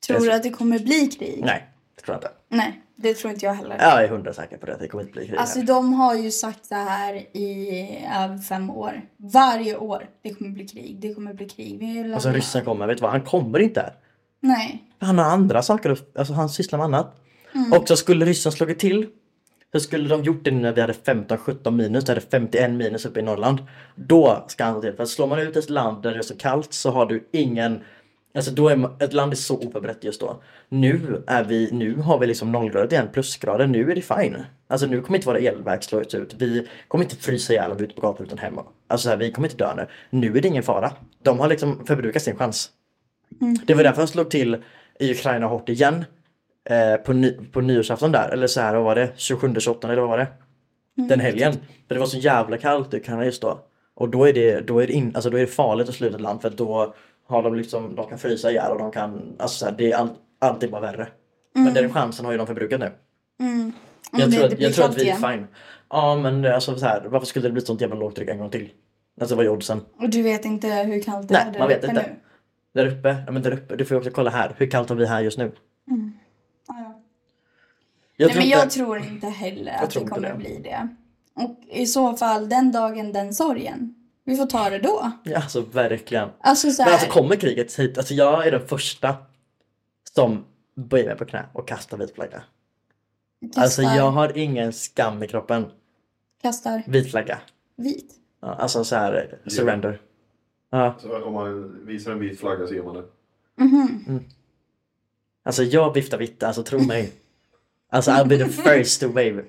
Speaker 2: Tror
Speaker 1: Jag-
Speaker 2: du att det kommer bli krig?
Speaker 1: Nej, det tror jag inte.
Speaker 2: Nej, det tror inte jag heller.
Speaker 1: Jag är hundra säker på det, det kommer inte bli krig.
Speaker 2: Alltså
Speaker 1: här.
Speaker 2: de har ju sagt så här i över fem år. Varje år. Det kommer bli krig. Det kommer bli krig. Vi är
Speaker 1: Alltså ryssen kommer, vet du vad, han kommer inte här.
Speaker 2: Nej.
Speaker 1: Han har andra saker, att- alltså han sysslar med annat. Och så skulle ryssen slagit till så skulle de gjort det nu när vi hade 15-17 minus, det hade 51 minus uppe i Norrland. Då ska han till. För slår man ut ett land där det är så kallt så har du ingen... Alltså då är man, ett land är så oförberett just då. Nu är vi, nu har vi liksom nollgrader igen, plusgrader, nu är det fine. Alltså nu kommer inte våra elverk slås ut. Vi kommer inte frysa ihjäl om vi är ute på gatan utan hemma. Alltså så här, vi kommer inte dö nu. Nu är det ingen fara. De har liksom förbrukat sin chans. Det var därför han slog till i Ukraina hårt igen. Eh, på, ny, på nyårsafton där, eller så här, vad var det? 27, 28 eller vad var det?
Speaker 2: Mm.
Speaker 1: Den helgen. För det var så jävla kallt i Ukraina just då. Och då är det, då är det, in, alltså då är det farligt att sluta ett land för att då har de liksom, de kan frysa ihjäl och de kan, alltså så här, det är all, alltid bara värre. Men den chansen har ju de förbrukat nu.
Speaker 2: Om
Speaker 1: jag
Speaker 2: Mm. det inte
Speaker 1: tror, att,
Speaker 2: blir
Speaker 1: jag tror att
Speaker 2: kallt
Speaker 1: vi är
Speaker 2: igen.
Speaker 1: fine. Ja men alltså så här, varför skulle det bli sånt jävla lågtryck en gång till? Alltså vad är oddsen?
Speaker 2: Och du vet inte hur kallt det
Speaker 1: Nej,
Speaker 2: är där
Speaker 1: man vet
Speaker 2: uppe
Speaker 1: inte.
Speaker 2: nu.
Speaker 1: Där uppe, ja men där uppe, du får ju också kolla här. Hur kallt har vi här just nu?
Speaker 2: Ja, ja.
Speaker 1: Jag
Speaker 2: Nej,
Speaker 1: tror
Speaker 2: men jag
Speaker 1: inte-
Speaker 2: tror inte heller att
Speaker 1: tror
Speaker 2: det
Speaker 1: inte
Speaker 2: kommer
Speaker 1: det.
Speaker 2: bli det. Och i så fall, den dagen, den sorgen. Vi får ta det då.
Speaker 1: Ja, Alltså verkligen.
Speaker 2: Alltså så här,
Speaker 1: Men alltså kommer kriget hit, alltså jag är den första som böjer mig på knä och kastar vit flagga.
Speaker 2: kastar,
Speaker 1: Alltså jag har ingen skam i kroppen.
Speaker 2: kastar
Speaker 1: Vit flagga.
Speaker 2: vit.
Speaker 1: Ja, Alltså så här, surrender. Ja,
Speaker 8: Så om man visar en vit flagga så gör man det.
Speaker 1: alltså jag viftar vitt, alltså tro mig. Alltså I'll be the first to wave.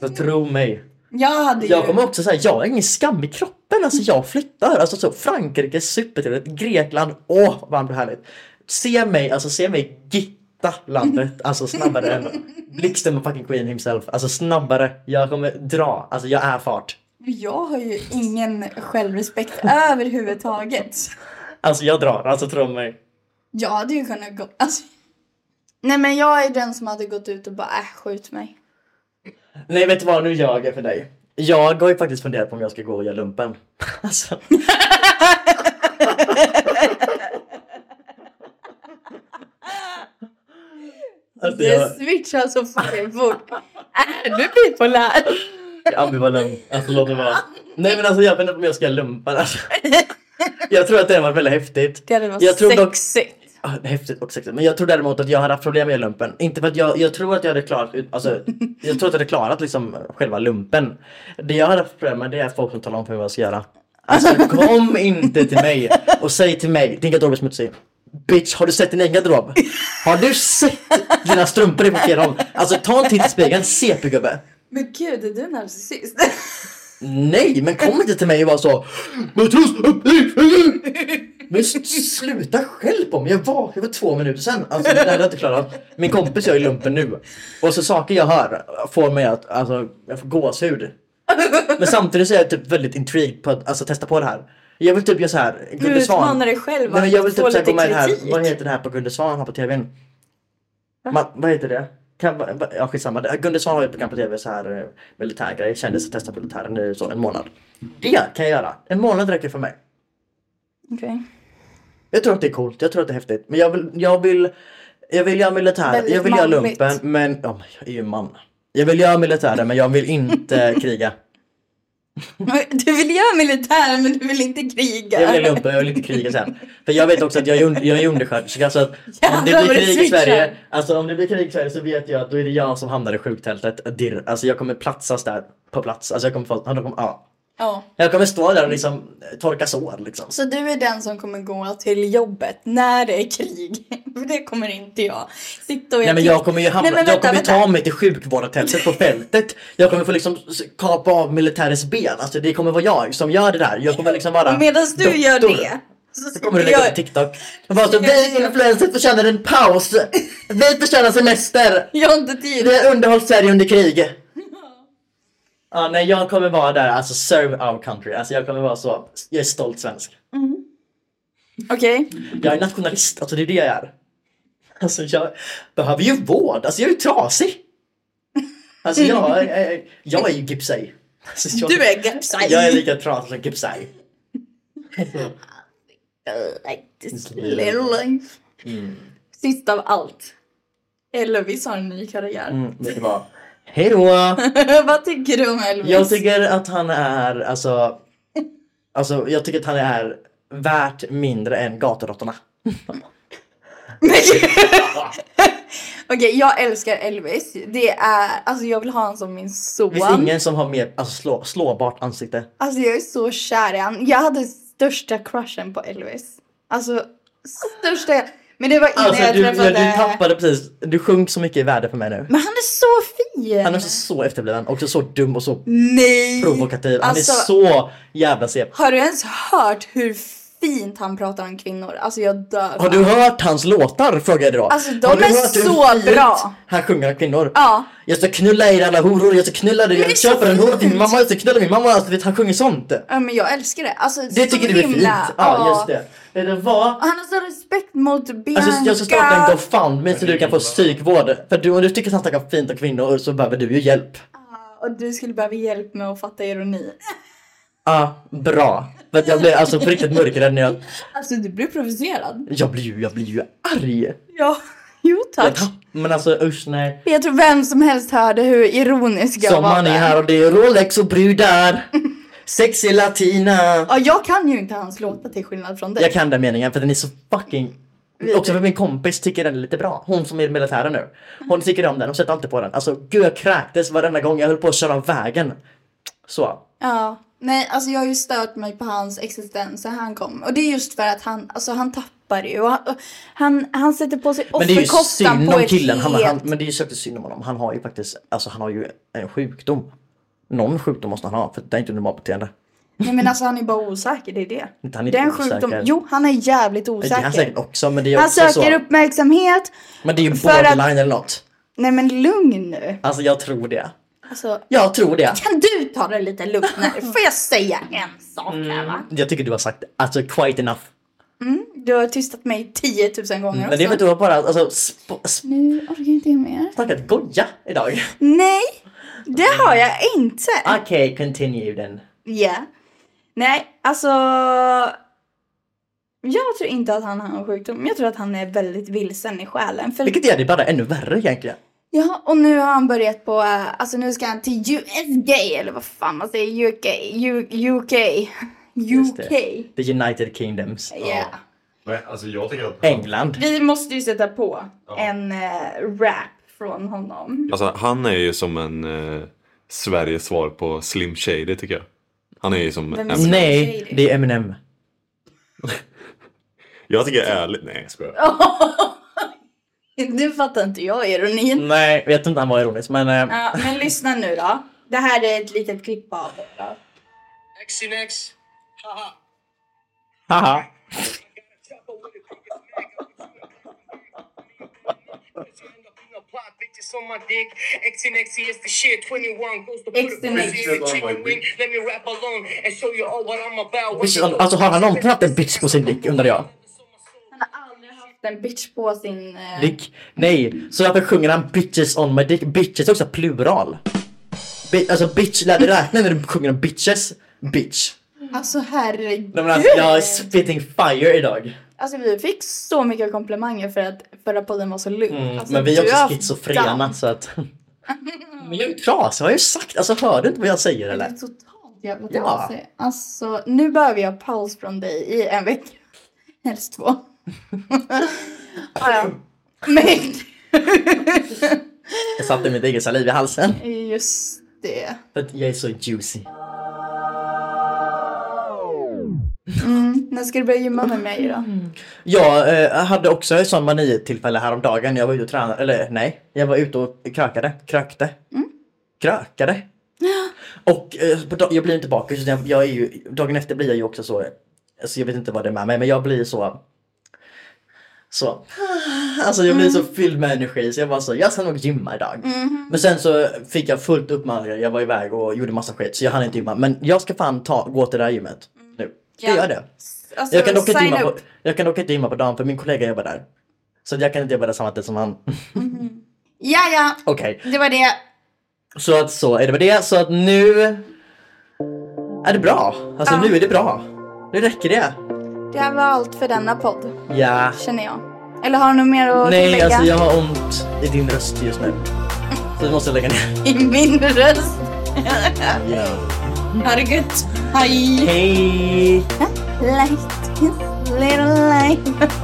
Speaker 1: Så tro mig.
Speaker 2: Jag hade ju...
Speaker 1: Jag kommer också säga, jag har ingen skam i kroppen. Alltså jag flyttar. Alltså så Frankrike, är supertrevligt. Grekland, åh vad det blir härligt. Se mig, alltså se mig gitta landet. Alltså snabbare än blixten och fucking Queen himself. Alltså snabbare. Jag kommer dra. Alltså jag är fart.
Speaker 2: Jag har ju ingen självrespekt överhuvudtaget.
Speaker 1: Alltså jag drar, alltså tro mig.
Speaker 2: Jag hade ju kunnat gå... Alltså... Nej men jag är den som hade gått ut och bara äh, skjut mig.
Speaker 1: Nej vet du vad, nu ljög jag för dig. Jag har ju faktiskt funderat på om jag ska gå och göra lumpen. Alltså. alltså jag
Speaker 2: Det switchar så fucking fort. Är du bipolär?
Speaker 1: är ambivalent. Alltså låt det vara. Nej men alltså jag funderar på om jag ska göra lumpen. Alltså. Jag tror att det var väldigt häftigt.
Speaker 2: Det hade varit
Speaker 1: Jag tror dock-
Speaker 2: sexigt.
Speaker 1: Ah, Häftigt och sexigt. Men jag tror däremot att jag hade haft problem med lumpen. Inte för att jag, jag tror att jag hade klarat ut, alltså, jag tror att jag hade klarat liksom själva lumpen. Det jag hade haft problem med det är folk som talar om för mig vad jag ska göra. Alltså kom inte till mig och säg till mig, din garderob är smutsig. Bitch, har du sett din egen garderob? Har du sett dina strumpor är på fel håll? Alltså ta en titt i spegeln, CP-gubbe.
Speaker 2: Men gud, är du narcissist?
Speaker 1: Nej, men kom inte till mig och var så. Matros, upp, upp, upp. Men s- sluta själv på mig. Jag vaknade för två minuter sedan. Alltså, det där hade jag inte klarat av. Min kompis gör ju lumpen nu. Och så saker jag hör får mig att, alltså, jag får gåshud. Men samtidigt så är jag typ väldigt intrigued på att alltså, testa på det här. Jag vill typ göra så här.
Speaker 2: Du
Speaker 1: Gunde Svan.
Speaker 2: utmanar dig själv
Speaker 1: Nej, men jag vill
Speaker 2: att få
Speaker 1: typ såhär
Speaker 2: lite
Speaker 1: gå med i det här, vad
Speaker 2: kritik.
Speaker 1: heter det här på Gunde Svan har på tvn? Ma, vad heter det? Kan, va- va- ja skitsamma, Det- Gunde Svan har ju ett program på tv så här eh, militärgrej, kändis att testa på militären i så en månad. Det kan jag göra, en månad räcker för mig.
Speaker 2: Okej.
Speaker 1: Jag tror att det är coolt, jag tror att det är häftigt. Men jag vill, jag vill, jag vill göra militär,
Speaker 2: Väldigt
Speaker 1: jag vill göra
Speaker 2: manligt.
Speaker 1: lumpen men, ja men jag är ju man. Jag vill göra militären men jag vill inte kriga.
Speaker 2: Du vill göra militär men du vill inte kriga.
Speaker 1: Jag vill lumpa, jag vill inte kriga sen. För jag vet också att jag är, un- jag är undersköterska så att om det
Speaker 2: Jävlar
Speaker 1: blir
Speaker 2: vad det
Speaker 1: krig i
Speaker 2: switchar.
Speaker 1: Sverige, alltså om det blir krig i Sverige så vet jag att då är det jag som hamnar i sjuktältet. Dirr. Alltså jag kommer platsas där på plats. Alltså jag kommer, få, jag kommer, ja.
Speaker 2: Ja.
Speaker 1: jag kommer stå där och liksom eh, torka sår liksom.
Speaker 2: Så du är den som kommer gå till jobbet när det är krig? För det kommer inte jag. Sitta och
Speaker 1: Nej men jag kommer ju hamna,
Speaker 2: Nej, men
Speaker 1: jag
Speaker 2: vänta,
Speaker 1: kommer ju ta
Speaker 2: vänta.
Speaker 1: mig till sjukvårdstältet på fältet. Jag kommer få liksom s- kapa av militärens ben. Alltså det kommer vara jag som gör det där. Jag kommer liksom vara
Speaker 2: Medan du gör
Speaker 1: doktor.
Speaker 2: det så
Speaker 1: Så kommer du
Speaker 2: sitter
Speaker 1: lägga upp
Speaker 2: jag,
Speaker 1: TikTok. Och bara så, vi influencers förtjänar en paus. Vi förtjänar semester.
Speaker 2: jag har inte tid.
Speaker 1: Vi har underhållit Sverige under krig. Ja, nej, jag kommer vara där, alltså serve our country. Alltså jag kommer vara så, jag är stolt svensk.
Speaker 2: Okej,
Speaker 1: Jag är nationalist, alltså det är det jag är. Alltså jag behöver ju vård, alltså jag är ju trasig. Alltså jag, jag, jag är ju Gipsey. Alltså, jag,
Speaker 2: du är gapsaj.
Speaker 1: Jag är lika trasig som Gipsey.
Speaker 2: like this little life.
Speaker 1: Mm.
Speaker 2: Sist av allt. Elvis har en ny karriär.
Speaker 1: Mm, det var, hej då!
Speaker 2: Vad tycker du om Elvis?
Speaker 1: Jag tycker att han är, alltså, alltså jag tycker att han är värt mindre än gaturåttorna.
Speaker 2: Okej, jag älskar Elvis. Det är, alltså jag vill ha honom som min son.
Speaker 1: Det finns ingen som har mer alltså, slå, slåbart ansikte.
Speaker 2: Alltså jag är så kär i han. Jag hade största crushen på Elvis. Alltså största. Men det var innan
Speaker 1: Alltså,
Speaker 2: jag
Speaker 1: du,
Speaker 2: träffade...
Speaker 1: ja, du tappade precis, du sjönk så mycket i värde för mig nu.
Speaker 2: Men han är så fin!
Speaker 1: Han är så efterbliven, också så dum och så
Speaker 2: Nej!
Speaker 1: provokativ. Han
Speaker 2: Alltså-
Speaker 1: är så jävla CP.
Speaker 2: Har du ens hört hur fint han pratar om kvinnor? Alltså jag dör.
Speaker 1: Har du hört hans låtar? Frågar jag dig då.
Speaker 2: Alltså, de
Speaker 1: Har du
Speaker 2: är
Speaker 1: hört hur
Speaker 2: så
Speaker 1: fint
Speaker 2: bra.
Speaker 1: Han sjunger om kvinnor.
Speaker 2: Ja.
Speaker 1: Jag ska knulla er alla horor, jag ska knulla dig,
Speaker 2: det är
Speaker 1: jag
Speaker 2: så
Speaker 1: köper en hora till min
Speaker 2: fint.
Speaker 1: mamma, jag ska knulla min mamma. Alltså, vet, han sjunger sånt.
Speaker 2: Ja, men jag älskar det. Alltså,
Speaker 1: Det tycker du är fint? Ja, just det. Vet du vad?
Speaker 2: Han har så respekt mot Bianca.
Speaker 1: Alltså, jag ska starta en GoFundMe så du kan få psykvård. För du, om du tycker att han snackar fint om kvinnor så behöver du ju hjälp.
Speaker 2: Och du skulle behöva hjälp med att fatta ironi.
Speaker 1: Ja, Ah, bra. För att jag blir alltså på riktigt mörkrädd när jag...
Speaker 2: Alltså du blir provocerad.
Speaker 1: Jag blir ju, jag blir ju arg.
Speaker 2: Ja. Jo
Speaker 1: Jag
Speaker 2: tack.
Speaker 1: tapp- Men alltså usch nej.
Speaker 2: Jag tror vem som helst hörde hur ironisk jag var
Speaker 1: Sommaren är
Speaker 2: där.
Speaker 1: här och det är Rolex och brudar. Sexy latina.
Speaker 2: Ja, jag kan ju inte hans låtar till skillnad från dig.
Speaker 1: Jag kan den meningen för den är så fucking... Också för min kompis tycker den är lite bra. Hon som är i militären nu. Hon tycker om den, hon sätter alltid på den. Alltså gud jag kräktes varenda gång jag höll på att köra av vägen. Så.
Speaker 2: Ja. Nej, alltså jag har ju stört mig på hans existens sen han kom. Och det är just för att han, alltså han tappar ju. Och han, och han, han sätter på sig
Speaker 1: Men det är ju
Speaker 2: offerkoftan
Speaker 1: synd
Speaker 2: på
Speaker 1: om
Speaker 2: ett
Speaker 1: killen. Han,
Speaker 2: helt...
Speaker 1: han, men det är ju säkert synd om honom. Han har ju faktiskt, alltså han har ju en sjukdom. Någon sjukdom måste han ha, för det är inte normalt beteende.
Speaker 2: Nej men alltså han är bara osäker, det är det.
Speaker 1: Inte han är
Speaker 2: Det är en
Speaker 1: osäker.
Speaker 2: sjukdom. Jo, han är jävligt
Speaker 1: Det är han
Speaker 2: osäker.
Speaker 1: säkert också, men det är
Speaker 2: Han
Speaker 1: också så.
Speaker 2: söker uppmärksamhet.
Speaker 1: Men det är ju
Speaker 2: för att-
Speaker 1: borderline eller något.
Speaker 2: Nej men lugn nu.
Speaker 1: Alltså jag tror det.
Speaker 2: Alltså,
Speaker 1: Jag tror det.
Speaker 2: kan du ta det lite lugnare? Får jag säga en sak här va?
Speaker 1: Jag tycker du har sagt alltså quite enough.
Speaker 2: Du har tystat mig 10 000 gånger
Speaker 1: Men det är för att du har bara alltså, sp- sp-
Speaker 2: Nu orkar inte jag mer.
Speaker 1: snackat goja idag.
Speaker 2: Nej, det har jag inte.
Speaker 1: Okej, continue then.
Speaker 2: Yeah. Nej, alltså. Jag tror inte att han har en sjukdom. Jag tror att han är väldigt vilsen i själen. För,
Speaker 1: Vilket gör det bara ännu värre egentligen.
Speaker 2: ja, och nu har han börjat på, eh, alltså nu ska han till USG eller vad fan man säger, UK, U, UK,
Speaker 1: Just det.
Speaker 2: UK.
Speaker 1: The United Kingdoms.
Speaker 2: Yeah.
Speaker 9: Men alltså jag tänker att...
Speaker 1: England.
Speaker 2: Vi måste ju sätta på
Speaker 9: Ja.
Speaker 2: en eh, rap från honom.
Speaker 8: Alltså han är ju som en eh, Sveriges svar på Slim Shady tycker jag. Han är ju som
Speaker 2: Vem är
Speaker 8: Eminem.
Speaker 1: Nej, Alltså, det är Eminem.
Speaker 8: Jag tycker ärligt, nej jag skojar.
Speaker 2: Nu fattar inte jag ironin.
Speaker 1: Nej, jag tror inte han var ironisk men... eh,
Speaker 2: Ja, men lyssna nu då. Det här är ett litet klipp av det då.
Speaker 10: Xynex. Haha.
Speaker 1: Haha.
Speaker 10: XNX is for shit. 21 goes to
Speaker 2: Xanax.
Speaker 10: Let me rap alone and show you all what I'm about.
Speaker 1: Bitch, Alltså har han någonsin haft en bitch på sin dick undrar jag?
Speaker 2: Han har aldrig haft en bitch på sin... eh,
Speaker 1: Dick? Nej, så varför sjunger han bitches on my dick? Bitches är också plural. Bi- alltså bitch, lär dig räkna när du sjunger om bitches. Bitch.
Speaker 2: Alltså herregud.
Speaker 1: Nej men alltså jag är spitting fire idag.
Speaker 2: Alltså vi fick så mycket komplimanger för att förra podden var så lugn. alltså,
Speaker 1: Mm, men vi är
Speaker 2: du
Speaker 1: också
Speaker 2: har-
Speaker 1: schizofrena så att... Men jag är ju trasig, har jag ju sagt. Alltså hör du inte vad jag säger
Speaker 2: Du
Speaker 1: eller?
Speaker 2: är totalt jävla
Speaker 1: Ja.
Speaker 2: trasig. Alltså nu behöver jag paus från dig i en vecka. Helst två. ah, ja. Men
Speaker 1: Jag satte mitt eget saliv i halsen.
Speaker 2: just det.
Speaker 1: För att jag är så juicy.
Speaker 2: Mm. När ska du börja gymma med mig då?
Speaker 1: Jag eh, hade också ett sånt manitillfälle häromdagen. Jag var ute och tränade, eller nej, jag var ute och krökade, krökte, krökade. Och eh, på dag- jag blir inte bakis, utan jag, jag är ju, dagen efter blir jag ju också så, alltså jag vet inte vad det är med mig, men jag blir så, så, alltså jag blir så fylld med energi så jag var så, jag ska nog gymma idag. Men sen så fick jag fullt upp med andra, jag var iväg och gjorde massa skit så jag hann inte gymma. Men jag ska fan ta, gå till det här gymmet nu. Ska
Speaker 2: Ja.
Speaker 1: jag göra det?
Speaker 2: Alltså,
Speaker 1: Jag kan, dock inte
Speaker 2: sign
Speaker 1: gymma på,
Speaker 2: up.
Speaker 1: jag kan dock inte gymma på dagen för min kollega jobbar där. Så jag kan inte jobba där samma tid som han.
Speaker 2: Ja, ja.
Speaker 1: Okej,
Speaker 2: Det var det.
Speaker 1: så att så är det med det. Så att nu är det bra. Alltså
Speaker 2: Ja.
Speaker 1: nu är det bra. Nu räcker det.
Speaker 2: Det här var allt för denna podd.
Speaker 1: Ja.
Speaker 2: känner jag. Eller har du något mer att
Speaker 1: Nej,
Speaker 2: tillägga?
Speaker 1: alltså jag har ont i din röst just nu. Så du måste lägga ner.
Speaker 2: I min röst.
Speaker 1: Ja.
Speaker 2: Ha det gött. Hej!
Speaker 1: Hej!
Speaker 2: Light is little light.